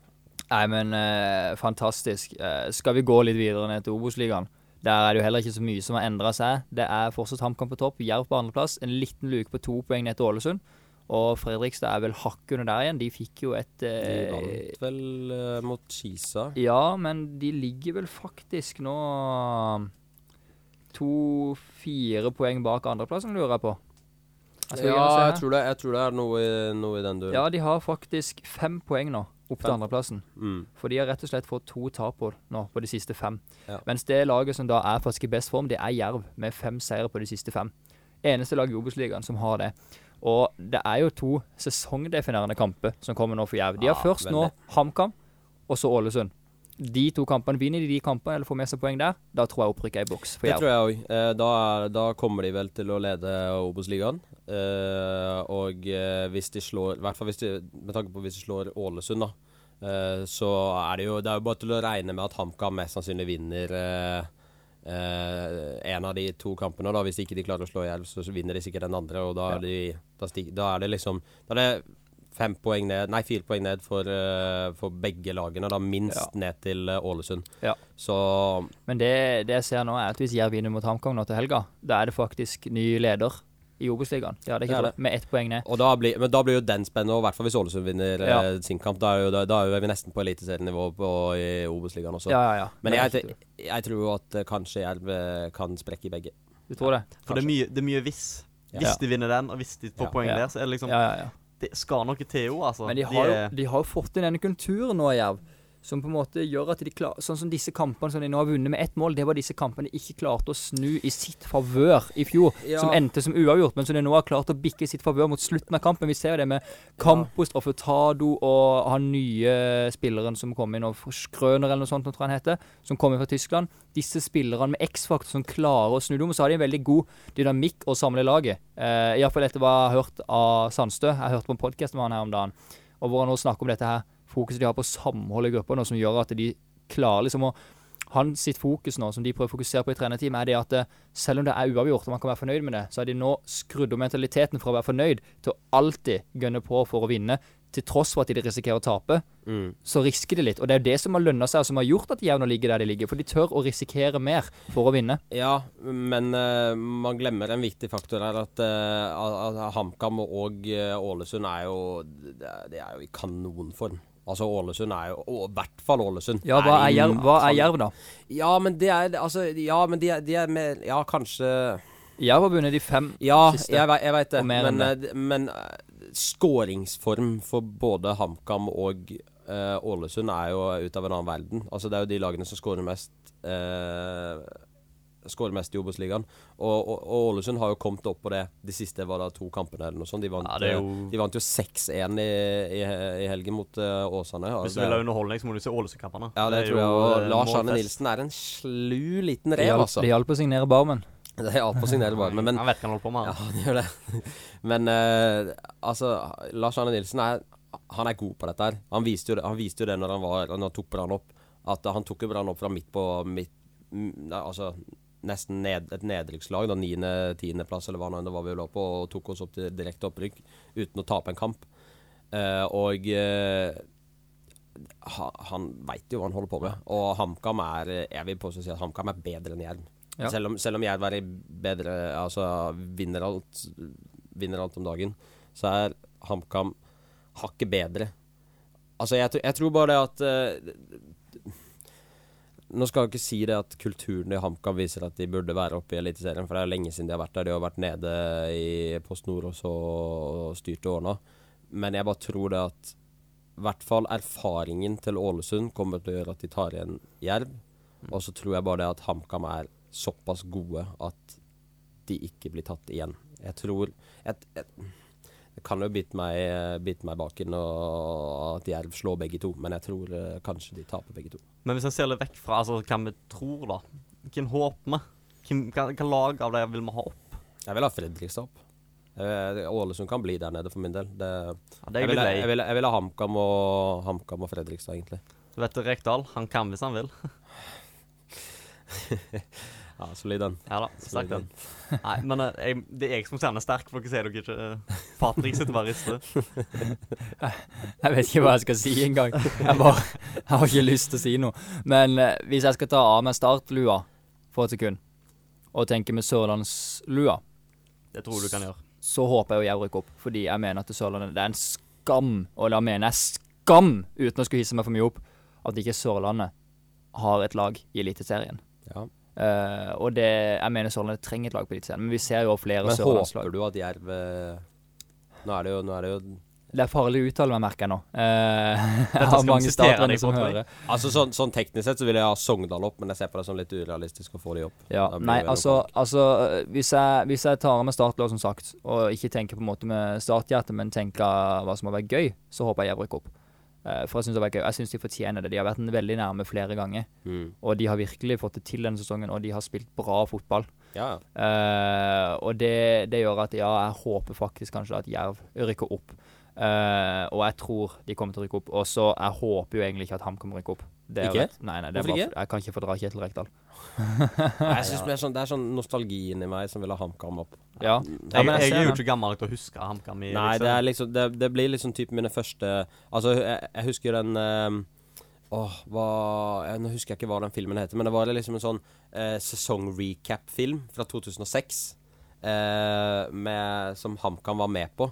[SPEAKER 5] Nei, men eh, fantastisk. Eh, skal vi gå litt videre ned til Obos-ligaen? Der er det jo heller ikke så mye som har endra seg. Det er fortsatt HamKam på topp, Jerv på andreplass, en liten luke på to poeng ned til Ålesund. Og Fredrikstad er vel hakket under der igjen. De fikk jo et
[SPEAKER 1] De
[SPEAKER 5] eh,
[SPEAKER 1] vant vel eh, mot Chisa.
[SPEAKER 5] Ja, men de ligger vel faktisk nå to-fire poeng bak andreplassen, lurer jeg på. Jeg skal
[SPEAKER 1] ja,
[SPEAKER 5] gjerne se her.
[SPEAKER 1] jeg tror, det, jeg tror det er noe, i- noe i den duren.
[SPEAKER 5] Ja, de har faktisk fem poeng nå, opp til
[SPEAKER 1] Fem.
[SPEAKER 5] andreplassen.
[SPEAKER 1] Mm.
[SPEAKER 5] For de har rett og slett fått to tap på nå, på de siste fem.
[SPEAKER 1] Ja.
[SPEAKER 5] Mens det laget som da er faktisk i best form, det er Jerv, med fem seire på de siste fem. Eneste lag i Obos-ligaen som har det. Og det er jo to sesongdefinerende kamper som kommer nå for Jerv. De har
[SPEAKER 1] Ja,
[SPEAKER 5] først nå
[SPEAKER 1] veldig.
[SPEAKER 5] HamKam, og så Ålesund. De to kampene, vinner de de kampene eller får med seg poeng der, da tror jeg opprykket er i boks for
[SPEAKER 1] Det
[SPEAKER 5] Jerv.
[SPEAKER 1] tror jeg òg. Eh, da, er- da kommer de vel til å lede Obos-ligaen. Eh, og eh, hvis de slår I hvert fall hvis de, med tanke på hvis de slår Ålesund, da. eh, så er det jo Det er jo bare til å regne med at HamKam mest sannsynlig vinner eh, eh, en av de to kampene. Da. Hvis ikke de klarer å slå Jerv, så så vinner de sikkert den andre. Og da er, de, da stig, da er det liksom Da er det fem poeng ned Nei, fire poeng ned for, eh, for begge lagene. Da minst
[SPEAKER 5] Ja.
[SPEAKER 1] ned til eh, Ålesund.
[SPEAKER 5] Ja.
[SPEAKER 1] Så
[SPEAKER 5] Men det, det jeg ser nå, er at hvis Jerv vinner mot HamKam nå til helga, da er det faktisk ny leder i Obos-ligaen. Ja, det er
[SPEAKER 1] Det
[SPEAKER 5] ikke
[SPEAKER 1] er
[SPEAKER 5] det. Med ett poeng ned.
[SPEAKER 1] Og da blir, men da blir jo den spennende, og i hvert fall hvis Ålesund vinner eh,
[SPEAKER 5] Ja.
[SPEAKER 1] sin kamp. Da er, jo, da, da er jo vi nesten på eliteserienivå på- i Obos-ligaen også.
[SPEAKER 5] Ja, ja, ja.
[SPEAKER 1] Men
[SPEAKER 5] Det er
[SPEAKER 1] jeg,
[SPEAKER 5] riktig.
[SPEAKER 1] te- jeg tror jo at eh, kanskje Jerv eh, kan sprekke i begge.
[SPEAKER 5] Du tror det?
[SPEAKER 6] *laughs* For det er, mye, det er mye hvis.
[SPEAKER 1] Ja.
[SPEAKER 6] Hvis de vinner den, og hvis de får
[SPEAKER 1] Ja.
[SPEAKER 6] poeng
[SPEAKER 5] Ja.
[SPEAKER 6] der, så er det liksom
[SPEAKER 5] Ja, ja, ja.
[SPEAKER 6] Det skal noe til, jo, altså.
[SPEAKER 5] Men de har,
[SPEAKER 6] er-
[SPEAKER 5] jo, de har jo fått inn denne kulturen nå, Jerv, som på en måte gjør at de klarer Sånn som disse kampene som de nå har vunnet med ett mål, det var disse kampene de ikke klarte å snu i sitt favør i fjor,
[SPEAKER 1] Ja.
[SPEAKER 5] som endte som uavgjort, men som de nå har klart å bikke i sitt favør mot slutten av kampen. Vi ser jo det med Campos, Traffetado og han nye spilleren som kom inn, og Skrøner eller noe sånt, nå tror jeg han heter, som kommer fra Tyskland. Disse spillerne med X-faktor som klarer å snu dem. Og så har de en veldig god dynamikk å samle i laget. Eh, Iallfall etter hva jeg har hørt av Sandstø. Jeg hørte på en podkast med han her om dagen og hvor han nå snakker om dette her fokuset de har på samhold i gruppa, nå, som gjør at de klarer liksom å han sitt fokus nå, som de prøver å fokusere på i trenerteamet, er det at eh, selv om det er uavgjort og man kan være fornøyd med det, så har de nå skrudd om mentaliteten fra å være fornøyd til å alltid gønne på for å vinne, til tross for at de risikerer å tape.
[SPEAKER 1] Mm.
[SPEAKER 5] Så risker de litt, og det er jo det som har lønna seg, og som har gjort at Jevn ligger der de ligger. For de tør å risikere mer for å vinne.
[SPEAKER 1] Ja, men eh, man glemmer en viktig faktor her. At, eh, at at HamKam og eh, Ålesund er jo det er, det er jo i kanonform. Altså Ålesund er jo Og i hvert fall Ålesund.
[SPEAKER 5] Ja, hva er
[SPEAKER 1] i-
[SPEAKER 5] Jerv, hva er jerv da?
[SPEAKER 1] Ja, men det er altså Ja, men de er, de er med Ja, kanskje
[SPEAKER 5] Jerv har vunnet de fem
[SPEAKER 1] Ja,
[SPEAKER 5] siste.
[SPEAKER 1] jeg, ve- jeg veit det.
[SPEAKER 5] Og mer
[SPEAKER 1] Men,
[SPEAKER 5] enn
[SPEAKER 1] eh, men eh, skåringsform for både HamKam og eh, Ålesund er jo ut av en annen verden. Altså Det er jo de lagene som skårer mest eh, Skårer mest i Obos-ligaen. Og, og, og Ålesund har jo kommet opp på det de siste var da to kampene eller noe sånt. De vant,
[SPEAKER 6] Ja, det er
[SPEAKER 1] eh,
[SPEAKER 6] jo-
[SPEAKER 1] de vant jo 6-1 i, i, i helgen mot eh, Åsane. Altså,
[SPEAKER 6] Hvis du vil ha underholdning, så må du se Ålesund-kampene.
[SPEAKER 1] ja, det
[SPEAKER 6] er
[SPEAKER 1] tror jeg.
[SPEAKER 6] jo,
[SPEAKER 1] Og
[SPEAKER 6] eh,
[SPEAKER 1] Lars Arne
[SPEAKER 6] målfest.
[SPEAKER 1] Nilsen er en slu liten
[SPEAKER 5] Det
[SPEAKER 1] rev,
[SPEAKER 5] hjalp-
[SPEAKER 1] altså.
[SPEAKER 5] Det hjalp å signere Barmen.
[SPEAKER 1] *laughs* Det er alt på signal bare. Men, men
[SPEAKER 6] Han vet hva han holder på med.
[SPEAKER 1] Ja,
[SPEAKER 6] han.
[SPEAKER 1] han gjør det. *laughs* Men eh, altså, Lars Arne Nilsen er, han er god på dette her. Han viste jo det, han viste jo det når han, var, når han tok Brann opp. At han tok jo Brann opp fra midt på midt, mm, nei, Altså nesten ned, et nederrykslag, da niende-tiendeplass eller hva nå enn det var vi lå på, og tok oss opp til direkte opprykk uten å tape en kamp. Eh, og eh, ha, han veit jo hva han holder på med. Og HamKam er eh, Jeg vil påstå si at HamKam er bedre enn Jerv.
[SPEAKER 5] Ja.
[SPEAKER 1] Selv, om, selv om Jerv er i bedre Altså vinner alt, vinner alt om dagen, så er HamKam hakket bedre. Altså, jeg, tr- jeg tror bare det at eh, nå skal jeg ikke si det at kulturen i HamKam viser at de burde være oppe i Eliteserien, for det er lenge siden de har vært der. De har vært nede i Post Nord også og styrt og ordna. Men jeg bare tror det at i hvert fall erfaringen til Ålesund kommer til å gjøre at de tar igjen Jerv. Og så tror jeg bare det at HamKam er såpass gode at de ikke blir tatt igjen. Jeg tror jeg, jeg, Det kan jo bite meg, bite meg baken og at Jerv slår begge to, men jeg tror eh, kanskje de taper begge to.
[SPEAKER 6] Men hvis en ser litt vekk fra altså, hva vi tror, da. Hvem håper vi? Hvem, hva, hva lag av dem vil vi ha opp?
[SPEAKER 1] Jeg vil ha Fredrikstad opp. Eh, Ålesund kan bli der nede for min del. Det,
[SPEAKER 6] Ja, det
[SPEAKER 1] jeg, vil,
[SPEAKER 6] er jeg
[SPEAKER 1] jeg,
[SPEAKER 6] litt lei.
[SPEAKER 1] vil, jeg vil ha HamKam og, HamKam og Fredrikstad, egentlig.
[SPEAKER 6] Du vet Rekdal, han kan hvis han vil.
[SPEAKER 1] Ja, Solid den.
[SPEAKER 6] Ja da, sterk den. Nei, men eh, jeg, det er jeg som kjenner sterk, for dere ser dere ikke. eh, Patrick sitter bare og rister.
[SPEAKER 5] Jeg vet ikke hva jeg skal si engang. Jeg, bare, jeg har ikke lyst til å si noe. Men eh, hvis jeg skal ta av meg startlua for et sekund, og tenke med sørlandslua,
[SPEAKER 6] Det tror jeg du kan gjøre.
[SPEAKER 5] så håper jeg jo jeg rykker opp. Fordi jeg mener at Sørlandet Det er en skam, og da mener jeg skam, uten å skulle hisse meg for mye opp, at ikke Sørlandet har et lag i Eliteserien.
[SPEAKER 1] Ja.
[SPEAKER 5] Eh, og det, jeg mener Sørlandet trenger et lag på Eliteserien, men vi ser jo flere
[SPEAKER 1] Men
[SPEAKER 5] sørlandslag.
[SPEAKER 1] håper du at Jerv eh, Nå er det jo, nå er det jo
[SPEAKER 5] Det er farlig å uttale meg, merker jeg nå. Eh, *laughs* jeg
[SPEAKER 6] Dette
[SPEAKER 5] har
[SPEAKER 6] skal vi
[SPEAKER 5] mange
[SPEAKER 6] sitere deg
[SPEAKER 5] startmenn
[SPEAKER 6] på,
[SPEAKER 5] som
[SPEAKER 6] tror jeg.
[SPEAKER 5] hører.
[SPEAKER 1] Altså sånn, sånn teknisk sett så vil jeg ha Sogndal opp, men jeg ser på det som litt urealistisk å få de opp.
[SPEAKER 5] Ja,
[SPEAKER 1] Da blir
[SPEAKER 5] nei,
[SPEAKER 1] det jo
[SPEAKER 5] altså,
[SPEAKER 1] nok.
[SPEAKER 5] altså øh, hvis, jeg, hvis jeg tar av meg startlås, som sagt, og ikke tenker på en måte med starthjertet, men tenker hva som har vært gøy, så håper jeg jeg rykker opp. Eh, For jeg syns det har vært gøy. Jeg syns de fortjener det. De har vært veldig nærme flere ganger.
[SPEAKER 1] Mm.
[SPEAKER 5] Og de har virkelig fått det til denne sesongen, og de har spilt bra fotball.
[SPEAKER 1] Ja, *laughs* ja.
[SPEAKER 5] Eh, og det, det gjør at ja, jeg håper faktisk kanskje at Jerv rykker opp. Eh, og jeg tror de kommer til å rykke opp. Og så jeg håper jo egentlig ikke at HamKam rykker opp. Det er
[SPEAKER 1] Ikke?
[SPEAKER 5] rett. Nei, nei, det er
[SPEAKER 1] Hvorfor
[SPEAKER 5] bare, jeg kan ikke fordra Kjetil Rekdal.
[SPEAKER 1] Nei, jeg synes det er sånn, Det er sånn nostalgi inni meg som vil ha HamKam opp.
[SPEAKER 5] Ja. Ja,
[SPEAKER 6] Jeg,
[SPEAKER 5] men
[SPEAKER 6] jeg
[SPEAKER 5] ser
[SPEAKER 6] er jo
[SPEAKER 5] den.
[SPEAKER 6] ikke gammel nok til å huske HamKam i
[SPEAKER 1] Nei, det, er liksom, det, det blir liksom typ mine første Altså, jeg, jeg husker den eh, Åh, hva jeg, Nå husker jeg ikke hva den filmen heter, men det var liksom en sånn eh, sesong-recap-film fra 2006 eh, med, som HamKam var med på.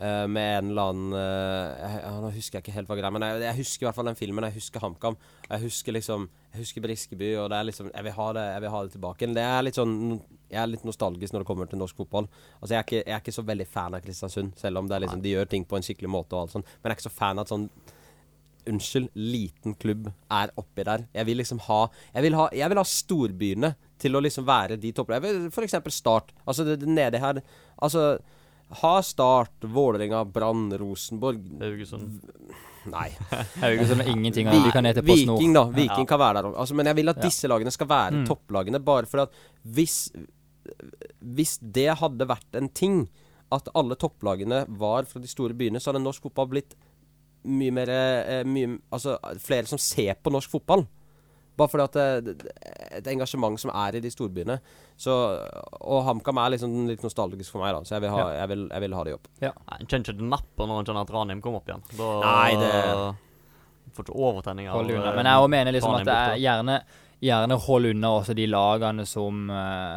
[SPEAKER 1] eh, med en eller annen eh, jeg, ja, Nå husker jeg ikke helt hva greia men jeg, jeg husker i hvert fall den filmen. Jeg husker HamKam. Jeg husker liksom Jeg husker Briskeby, og det er liksom Jeg vil ha det, jeg vil ha det tilbake. Det er litt sånn Jeg er litt nostalgisk når det kommer til norsk fotball. Altså, jeg er ikke, jeg er ikke så veldig fan av Kristiansund, selv om det er liksom, de gjør ting på en skikkelig måte og alt sånt. Men jeg er ikke så fan av at sånn Unnskyld, liten klubb er oppi der. Jeg vil liksom ha Jeg vil ha, jeg vil ha storbyene til å liksom være de topplagene. Jeg vil For eksempel Start. Altså, det, det nede her Altså, ha Start, Vålerenga, Brann, Rosenborg
[SPEAKER 6] Haugesund.
[SPEAKER 1] Nei.
[SPEAKER 5] Haugesund er ingenting.
[SPEAKER 1] Vi-
[SPEAKER 5] Vi kan hete PostNord.
[SPEAKER 1] Viking, da. Viking kan være der òg. Altså, men jeg vil at disse lagene skal være
[SPEAKER 5] Mm.
[SPEAKER 1] topplagene, bare fordi at hvis Hvis det hadde vært en ting, at alle topplagene var fra de store byene, så hadde norsk fotball blitt mye mer eh, mye, Altså flere som ser på norsk fotball. Bare fordi at det, det, et engasjement som er i de storbyene. Så, og HamKam er liksom litt nostalgisk for meg, da, så jeg vil ha, jeg vil, jeg vil ha de opp.
[SPEAKER 6] Nei, En kjenner ikke det napper når en kjenner at Ranheim kommer opp igjen. Da
[SPEAKER 1] Nei, det-
[SPEAKER 6] Får ikke overtenning av
[SPEAKER 5] Hold
[SPEAKER 6] eh,
[SPEAKER 5] unna. Men jeg også mener liksom at det er
[SPEAKER 6] Ranheim
[SPEAKER 5] gjerne, gjerne hold unna også de lagene som eh,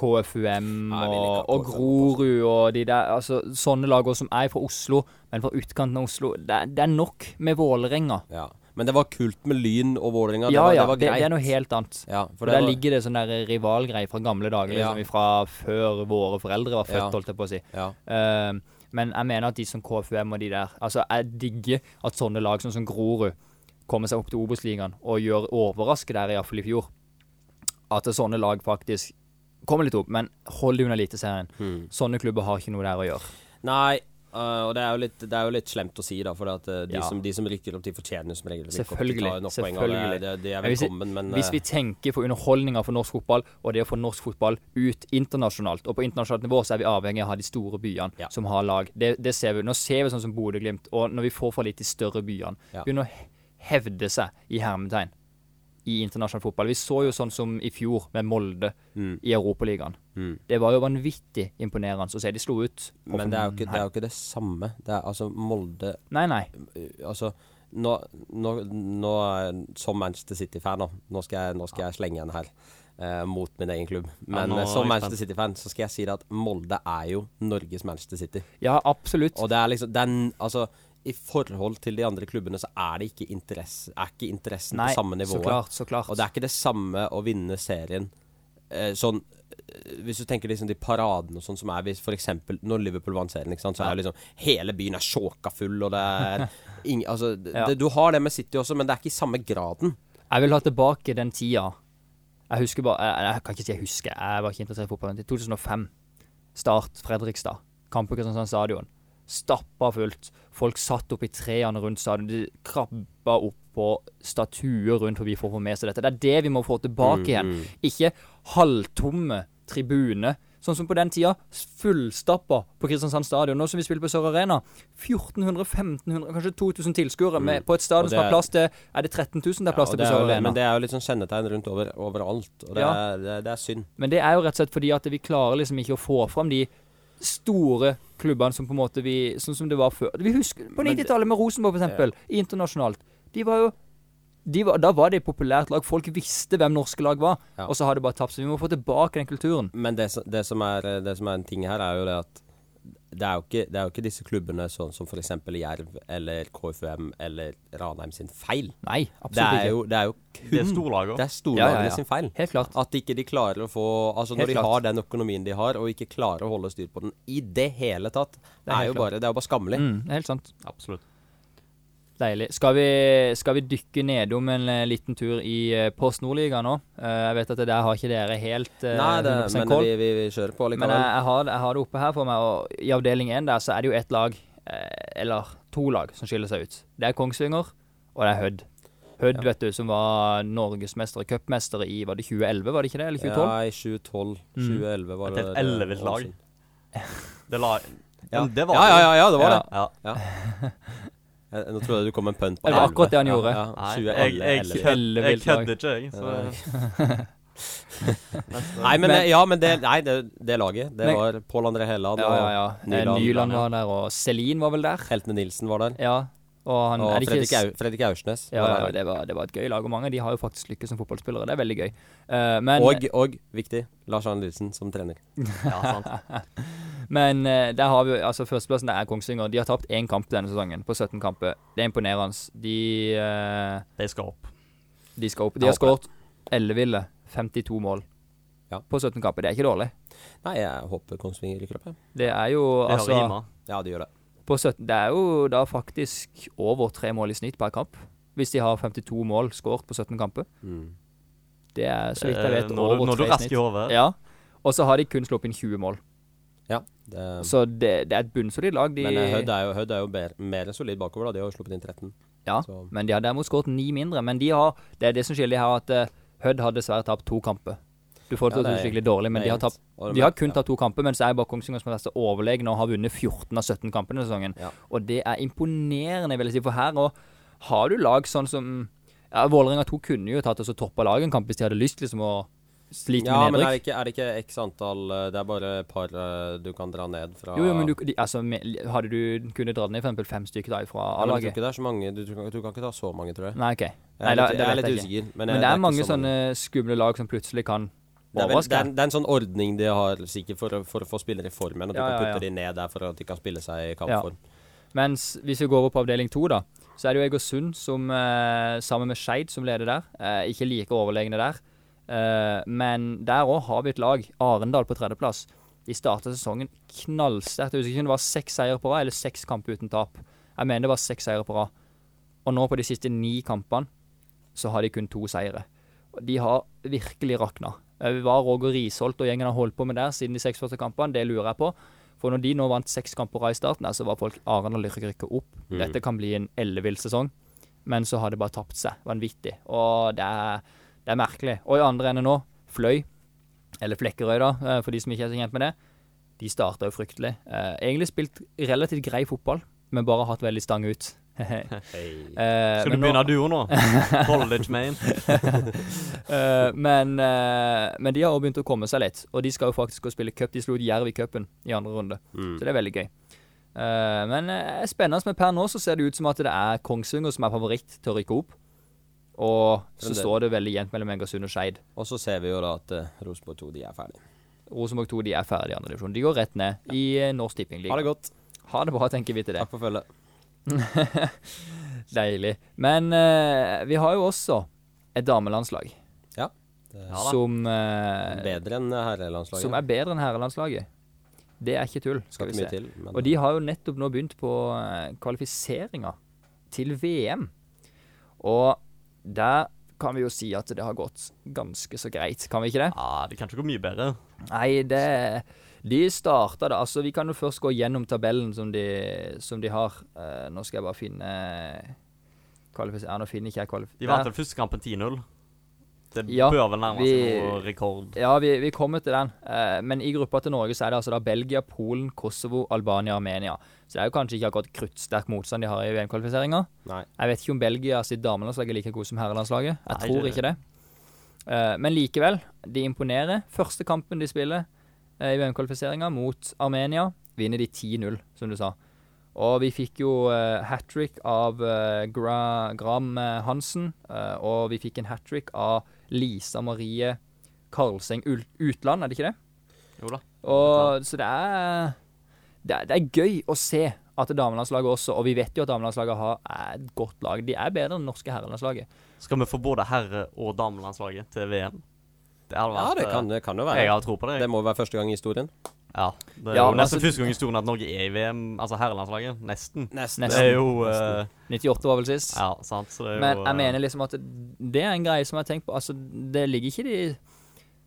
[SPEAKER 5] KFUM
[SPEAKER 1] Nei, jeg vil
[SPEAKER 5] og,
[SPEAKER 1] ikke ha
[SPEAKER 5] og
[SPEAKER 1] KFUM,
[SPEAKER 5] Grorud og de der. Altså, sånne lag også som er fra Oslo, men fra utkanten av Oslo. Det, er- det er nok med Vålerenga.
[SPEAKER 1] Ja. Men det var kult med Lyn og Vålerenga.
[SPEAKER 5] Ja,
[SPEAKER 1] det,
[SPEAKER 5] ja.
[SPEAKER 1] var-
[SPEAKER 5] Det,
[SPEAKER 1] det var greit.
[SPEAKER 5] det er noe helt annet.
[SPEAKER 1] ja, for
[SPEAKER 5] For
[SPEAKER 1] det
[SPEAKER 5] Der
[SPEAKER 1] var,
[SPEAKER 5] ligger det sånn der rivalgreie fra gamle dager,
[SPEAKER 1] Ja.
[SPEAKER 5] liksom fra før våre foreldre var født,
[SPEAKER 1] Ja.
[SPEAKER 5] holdt jeg på å si.
[SPEAKER 1] ja.
[SPEAKER 5] Eh, men jeg mener at de som KFUM og de der Altså, jeg digger at sånne lag sånn som Grorud kommer seg opp til Obos-ligaen og gjør overraske der, iallfall i fjor. At sånne lag faktisk kommer litt opp, men hold deg unna Eliteserien. Sånne klubber har ikke noe der å gjøre.
[SPEAKER 1] Nei, øh, og det er, jo litt, det er jo litt slemt å si, da. For at øh, de,
[SPEAKER 5] Ja.
[SPEAKER 1] som, de som rykker opp, de fortjener jo som regel ikke opp. De
[SPEAKER 5] Selvfølgelig,
[SPEAKER 1] tar jo nok poeng, og det-
[SPEAKER 5] selvfølgelig.
[SPEAKER 1] det- De er
[SPEAKER 5] Men hvis vi-
[SPEAKER 1] velkommen, men
[SPEAKER 5] Hvis
[SPEAKER 1] øh,
[SPEAKER 5] vi tenker på underholdninga for norsk fotball, og det å få norsk fotball ut internasjonalt, og på internasjonalt nivå, så er vi avhengig av å ha de store byene
[SPEAKER 1] Ja.
[SPEAKER 5] som har lag. Det, det ser vi. Nå ser vi sånn som Bodø-Glimt, og når vi får fra litt de større byene,
[SPEAKER 1] Ja.
[SPEAKER 5] begynner å hevde seg i hermetegn i internasjonal fotball. Vi så jo sånn som i fjor med Molde
[SPEAKER 1] Mm.
[SPEAKER 5] i Europaligaen. Det var jo vanvittig imponerende å se. De slo ut.
[SPEAKER 1] eh, Men det er, jo ikke, det er jo ikke det samme. Det er altså Molde
[SPEAKER 5] Nei, nei.
[SPEAKER 1] øh, Altså nå, nå, nå er- Som Manchester City-fan, nå, nå skal jeg, nå skal jeg slenge en her. eh, mot min egen klubb. Men
[SPEAKER 6] nå
[SPEAKER 1] eh, som
[SPEAKER 6] er jeg
[SPEAKER 1] Manchester City-fan så skal jeg si det at Molde er jo Norges Manchester City.
[SPEAKER 5] Ja, absolutt.
[SPEAKER 1] Og det er liksom den, altså, I forhold til de andre klubbene så er det ikke, interesse, er ikke interessen
[SPEAKER 5] Nei,
[SPEAKER 1] på samme nivå.
[SPEAKER 5] så klart, så klart.
[SPEAKER 1] Og det er ikke det samme å vinne serien eh, sånn eh, hvis du tenker liksom de paradene og sånn som er hvis for eksempel når Liverpool vant serien, ikke sant, så er jo liksom hele byen er sjåka full, og det er
[SPEAKER 5] *laughs*
[SPEAKER 1] ing, altså, det,
[SPEAKER 5] Ja.
[SPEAKER 1] det, Du har det med City også, men det er ikke i samme graden.
[SPEAKER 5] Jeg vil ha tilbake den tida. Jeg husker bare Jeg, jeg kan ikke si jeg husker, jeg var ikke interessert i fotball. I 2005. Start Fredrikstad. Kamp på Kristiansand stadion. Stappa fullt. Folk satt oppe i trærne rundt stadion. De krabba opp på statuer rundt forbi for å få med seg dette. Det er det vi må få tilbake igjen.
[SPEAKER 1] Mhm.
[SPEAKER 5] Ikke halvtomme tribuner. Sånn som på den tida. Fullstappa på Kristiansand stadion. Nå som vi spiller på Sør Arena. 1400-1500, kanskje 2000 tilskuere med- på et stadion
[SPEAKER 1] Mm. Og
[SPEAKER 5] som har
[SPEAKER 1] det-
[SPEAKER 5] plass til Er det 13 000 det er plass
[SPEAKER 1] og
[SPEAKER 5] til
[SPEAKER 1] det
[SPEAKER 5] på
[SPEAKER 1] er
[SPEAKER 5] Sør
[SPEAKER 1] jo,
[SPEAKER 5] Arena?
[SPEAKER 1] men det er jo litt sånn kjennetegn rundt over, overalt, og det,
[SPEAKER 5] Ja.
[SPEAKER 1] er, det, det er synd.
[SPEAKER 5] Men det er jo rett og slett fordi at vi klarer liksom ikke å få fram de store klubbene som på en måte vi Sånn som det var før. Vi husker på
[SPEAKER 1] Men-
[SPEAKER 5] 90-tallet med Rosenborg, for eksempel. Internasjonalt. De var jo de var, Da var det et populært lag. Folk visste hvem norske lag var.
[SPEAKER 1] Ja.
[SPEAKER 5] Og så har det bare tapt. Så vi må få tilbake den kulturen.
[SPEAKER 1] Men det, som- det, som er, det som er en ting her, er jo det at det er jo ikke, det er jo ikke disse klubbene sånn som f.eks. Jerv eller KFUM eller Ranheim sin feil.
[SPEAKER 5] Nei,
[SPEAKER 1] Det
[SPEAKER 5] absolutt
[SPEAKER 1] er jo, det er jo
[SPEAKER 6] borte. Det er
[SPEAKER 1] kun Det
[SPEAKER 6] storlaget.
[SPEAKER 1] er storlagene
[SPEAKER 5] Ja, ja, ja.
[SPEAKER 1] sin feil.
[SPEAKER 5] Helt klart.
[SPEAKER 1] At ikke de klarer å få Altså
[SPEAKER 5] Helt
[SPEAKER 1] Når de
[SPEAKER 5] klart.
[SPEAKER 1] har den økonomien de har, og ikke klarer å holde styr på den i det hele tatt, det er, jo
[SPEAKER 5] helt
[SPEAKER 1] bare, det er jo bare skammelig.
[SPEAKER 5] ikke. Mm, det er helt sant.
[SPEAKER 6] Absolutt.
[SPEAKER 5] Deilig. Skal vi, skal vi dykke nedom en eh, liten tur i eh, Post Nordliga nå? Eh, jeg vet at det der har ikke dere helt eh,
[SPEAKER 1] Nei, det,
[SPEAKER 5] 100%
[SPEAKER 1] men
[SPEAKER 5] koll.
[SPEAKER 1] vi, vi, vi kjører på
[SPEAKER 5] Men jeg,
[SPEAKER 1] likevel.
[SPEAKER 5] jeg, har, det- jeg har det oppe her for meg, og i avdeling 1 der så er det jo ett lag, eh, eller to lag, som skiller seg ut. Det er Kongsvinger, og det er Hødd. Hødd,
[SPEAKER 1] Ja.
[SPEAKER 5] vet du, som var norgesmestere, cupmestere i var det 2011, var det ikke det? Eller 2012?
[SPEAKER 1] Ja, i 2012.
[SPEAKER 5] Mm.
[SPEAKER 1] 2011 var
[SPEAKER 6] Et
[SPEAKER 1] det
[SPEAKER 6] helt ellevilt lag.
[SPEAKER 1] Ålesund.
[SPEAKER 6] Det, la,
[SPEAKER 1] Ja.
[SPEAKER 6] Men det var
[SPEAKER 1] Ja, ja, ja, ja, det var
[SPEAKER 5] Ja.
[SPEAKER 1] det.
[SPEAKER 6] Ja.
[SPEAKER 1] Jeg, nå trodde jeg du kom med en pønt på
[SPEAKER 5] Det var
[SPEAKER 1] 11.
[SPEAKER 5] akkurat det han
[SPEAKER 1] Ja,
[SPEAKER 5] gjorde.
[SPEAKER 1] Ja,
[SPEAKER 6] Nei,
[SPEAKER 1] 20,
[SPEAKER 6] jeg, jeg,
[SPEAKER 1] 11.
[SPEAKER 6] kødder, jeg
[SPEAKER 5] Ellevilt lag.
[SPEAKER 6] kødder ikke, jeg. Så. *laughs*
[SPEAKER 1] Nei, men,
[SPEAKER 5] Men-
[SPEAKER 1] ja, men det, nei, det, det laget, det
[SPEAKER 5] Men-
[SPEAKER 1] var Pål André Helland
[SPEAKER 5] Ja, ja, ja. Eh,
[SPEAKER 1] Nyland.
[SPEAKER 5] Nyland var der, og Selin var vel der.
[SPEAKER 1] Heltene Nilsen var der.
[SPEAKER 5] Ja, og han
[SPEAKER 1] Og
[SPEAKER 5] er det ikke
[SPEAKER 1] Fredrik, Au, Fredrik Aursnes.
[SPEAKER 5] Ja,
[SPEAKER 1] var
[SPEAKER 5] ja,
[SPEAKER 1] der.
[SPEAKER 5] det var, det var et gøy lag, og mange av de har jo faktisk lykkes som fotballspillere. Det er veldig gøy. Eh, men,
[SPEAKER 1] og, og, viktig, Lars Arne Nilsen som trener.
[SPEAKER 6] Ja, sant.
[SPEAKER 5] Men eh, der har vi jo- altså førsteplassen der er Kongsvinger. De har tapt én kamp denne sesongen på 17 kamper. Det er imponerende. De, eh,
[SPEAKER 6] De skal opp.
[SPEAKER 5] de skal opp.
[SPEAKER 1] Jeg
[SPEAKER 5] De har
[SPEAKER 1] håper
[SPEAKER 5] skåret elleville 52 mål
[SPEAKER 1] Ja.
[SPEAKER 5] på 17 kamper. Det er ikke dårlig.
[SPEAKER 1] Nei, jeg håper Kongsvinger rykker opp. jeg.
[SPEAKER 5] Det er jo
[SPEAKER 6] Det
[SPEAKER 5] altså
[SPEAKER 6] hører hjemme.
[SPEAKER 1] Ja, de gjør det.
[SPEAKER 5] på 17, Det er jo da faktisk over tre mål i snitt per kamp. Hvis de har 52 mål skåret på 17 kamper.
[SPEAKER 1] Mm.
[SPEAKER 5] Det er så vidt jeg
[SPEAKER 6] Eh,
[SPEAKER 5] vet
[SPEAKER 6] Når du,
[SPEAKER 5] over
[SPEAKER 6] når
[SPEAKER 5] tre
[SPEAKER 6] du er
[SPEAKER 5] i
[SPEAKER 6] rask i
[SPEAKER 5] snitt.
[SPEAKER 6] hodet
[SPEAKER 5] Ja. Og så har de kun sluppet inn 20 mål.
[SPEAKER 1] Ja, det
[SPEAKER 5] Så det, det er et bunnsolid lag. De,
[SPEAKER 1] men eh, Hødd er jo, Hødd er jo mer, mer enn solid bakover, da. De har jo sluppet inn 13.
[SPEAKER 5] Ja,
[SPEAKER 1] Så-
[SPEAKER 5] men de har derimot skåret ni mindre. Men de har, det er det som skiller de her, at eh, Hødd har dessverre tapt to kamper. Du får det
[SPEAKER 1] Ja,
[SPEAKER 5] til å
[SPEAKER 1] det
[SPEAKER 5] se
[SPEAKER 1] er-
[SPEAKER 5] skikkelig dårlig, men
[SPEAKER 1] det
[SPEAKER 5] de
[SPEAKER 1] er
[SPEAKER 5] har,
[SPEAKER 1] jevnt.
[SPEAKER 5] tapt,
[SPEAKER 1] Og det-
[SPEAKER 5] de har kun
[SPEAKER 1] ja.
[SPEAKER 5] tatt to kamper, men så er bare Kongsvinger som er mest overlegne og har vunnet 14 av 17 kamper denne sesongen.
[SPEAKER 1] Ja.
[SPEAKER 5] Og det er imponerende, vil jeg si, for her og har du lag sånn som ja, Vålerenga 2 kunne jo tatt oss og toppa laget en kamp hvis de hadde lyst liksom å slite
[SPEAKER 1] Ja,
[SPEAKER 5] med
[SPEAKER 1] men er det
[SPEAKER 5] nedrykk.
[SPEAKER 1] ikke, er det ikke x antall eh, Det er bare et par eh, du kan dra ned fra
[SPEAKER 5] Jo, jo, men du, de, altså, med- hadde du kunnet dratt ned for eksempel fem stykker da
[SPEAKER 1] Ja, men jeg
[SPEAKER 5] fra
[SPEAKER 1] tror
[SPEAKER 5] A-laget?
[SPEAKER 1] ikke det er så mange. Du, du, kan, du kan ikke ta så mange, tror jeg.
[SPEAKER 5] Nei, OK.
[SPEAKER 1] Jeg er
[SPEAKER 5] Nei, da-
[SPEAKER 1] litt,
[SPEAKER 5] det
[SPEAKER 1] jeg er
[SPEAKER 5] vet
[SPEAKER 1] litt
[SPEAKER 5] jeg
[SPEAKER 1] usikker. Men,
[SPEAKER 5] Men
[SPEAKER 1] jeg-
[SPEAKER 5] det er
[SPEAKER 1] ikke
[SPEAKER 5] mange
[SPEAKER 1] så
[SPEAKER 5] sånne skumle lag som plutselig kan
[SPEAKER 1] Det er, vel, det, er,
[SPEAKER 5] overraske.
[SPEAKER 1] det er en sånn ordning de har sikkert for, å- for å få spillere i formen, og du
[SPEAKER 5] Ja,
[SPEAKER 1] kan
[SPEAKER 5] ja,
[SPEAKER 1] putte
[SPEAKER 5] ja.
[SPEAKER 1] de ned der for at de kan spille seg i kampform.
[SPEAKER 5] Mens hvis vi går opp på avdeling to, da, så er det jo Egersund som eh, sammen med Skeid som leder der. Eh, ikke like overlegne der. Eh, men der òg har vi et lag. Arendal på tredjeplass. De starta sesongen knallsterkt. Jeg husker ikke om det var seks seier på rad eller seks kamper uten tap. Jeg mener det var seks seier på rad. Og nå på de siste ni kampene så har de kun to seire. Og De har virkelig rakna. Eh, Hva Roger Risholt og gjengen har holdt på med der siden de seks første kampene, det lurer jeg på. For når de nå vant seks kamper på rad i starten, her, så var folk Arendal rykker ikke opp. Dette kan bli en ellevill sesong. Men så har det bare tapt seg vanvittig. Og det er, det er merkelig. Og i andre enden nå, Fløy, eller Flekkerøy, da, eh, for de som ikke er så kjent med det, de starta jo fryktelig. Eh, Egentlig spilt relativt grei fotball, men bare hatt veldig stang ut. *laughs* Eh,
[SPEAKER 6] Skal du begynne du òg nå? College man.
[SPEAKER 5] Eh, men, eh, men de har også begynt å komme seg litt, og de skal jo faktisk gå og spille cup. De slo ut Jerv i cupen i andre runde, så det er veldig gøy. Eh, men eh, spennende, men per nå så ser det ut som at det er Kongsvinger som er favoritt til å rykke opp. Og så
[SPEAKER 1] Men det-
[SPEAKER 5] står det veldig jevnt mellom Egersund og Skeid.
[SPEAKER 1] Og så ser vi jo da at uh, Rosenborg 2 de er ferdig.
[SPEAKER 5] Rosenborg 2 de er ferdig i andre divisjon. De går rett ned i eh, Norsk
[SPEAKER 1] Ha
[SPEAKER 5] Tippingliga.
[SPEAKER 1] det godt.
[SPEAKER 5] Ha det bra, tenker vi til det.
[SPEAKER 1] Takk for følget.
[SPEAKER 5] Deilig. Men eh, vi har jo også et damelandslag
[SPEAKER 1] Ja. Det er
[SPEAKER 5] som, eh,
[SPEAKER 1] bedre enn herrelandslaget.
[SPEAKER 5] som er bedre enn herrelandslaget. Det er ikke tull.
[SPEAKER 1] Skal
[SPEAKER 5] vi
[SPEAKER 1] ikke mye
[SPEAKER 5] se.
[SPEAKER 1] til. Men
[SPEAKER 5] Og de har jo nettopp nå begynt på eh, kvalifiseringa til VM. Og der kan vi jo si at det har gått ganske så greit, kan vi ikke det?
[SPEAKER 6] Ja, det kan ikke gå mye bedre.
[SPEAKER 5] Nei, det De starta da Altså, vi kan jo først gå gjennom tabellen som de, som de har. Eh, nå skal jeg bare finne eh, kvalifis... Ja, nå finner ikke jeg kvalif...
[SPEAKER 6] De vant
[SPEAKER 5] Der.
[SPEAKER 6] den første kampen 10-0. Det
[SPEAKER 5] Ja,
[SPEAKER 6] bør vel nærme
[SPEAKER 5] vi-
[SPEAKER 6] seg noe rekord.
[SPEAKER 5] Ja, vi, vi kommer til den. Eh, men i gruppa til Norge så er det altså da Belgia, Polen, Kosovo, Albania, Armenia. Så det er jo kanskje ikke akkurat kruttsterk motstand de har i VM-kvalifiseringa.
[SPEAKER 1] Nei.
[SPEAKER 5] Jeg vet ikke om Belgia sitt damelandslag er like god som herrelandslaget. Jeg
[SPEAKER 6] Nei,
[SPEAKER 5] tror
[SPEAKER 6] det-
[SPEAKER 5] ikke det. Eh, men likevel, de imponerer. Første kampen de spiller eh, i VM-kvalifiseringa, mot Armenia, vinner de 10-0, som du sa. Og vi fikk jo hat trick av eh, Gra Gram eh, Hansen, eh, og vi fikk en hat trick av Lisa Marie Karlseng Ul Utland, er det ikke det?
[SPEAKER 6] Jo da.
[SPEAKER 5] Og, så det er, det er Det er gøy å se at damelandslaget også Og vi vet jo at damelandslaget har, er et godt lag. De er bedre enn det norske herrelandslaget.
[SPEAKER 6] Skal vi få både herre- og damelandslaget til VM? Det hadde
[SPEAKER 1] Ja, det
[SPEAKER 6] eh,
[SPEAKER 1] kan, det kan jo
[SPEAKER 6] Jeg
[SPEAKER 1] være.
[SPEAKER 6] har tro på det.
[SPEAKER 1] Det
[SPEAKER 6] jeg.
[SPEAKER 1] må være første gang i historien.
[SPEAKER 6] Ja, det er
[SPEAKER 5] Ja,
[SPEAKER 6] jo
[SPEAKER 5] men
[SPEAKER 6] nesten
[SPEAKER 5] altså-
[SPEAKER 6] første gang i historien at Norge er i VM, altså herrelandslaget. Nesten.
[SPEAKER 1] Nesten.
[SPEAKER 6] Det er jo eh,
[SPEAKER 5] 98 var vel sist.
[SPEAKER 6] Ja, sant. Så det er jo
[SPEAKER 5] Men
[SPEAKER 6] eh,
[SPEAKER 5] jeg mener liksom at det er en greie som jeg har tenkt på. Altså, det ligger ikke i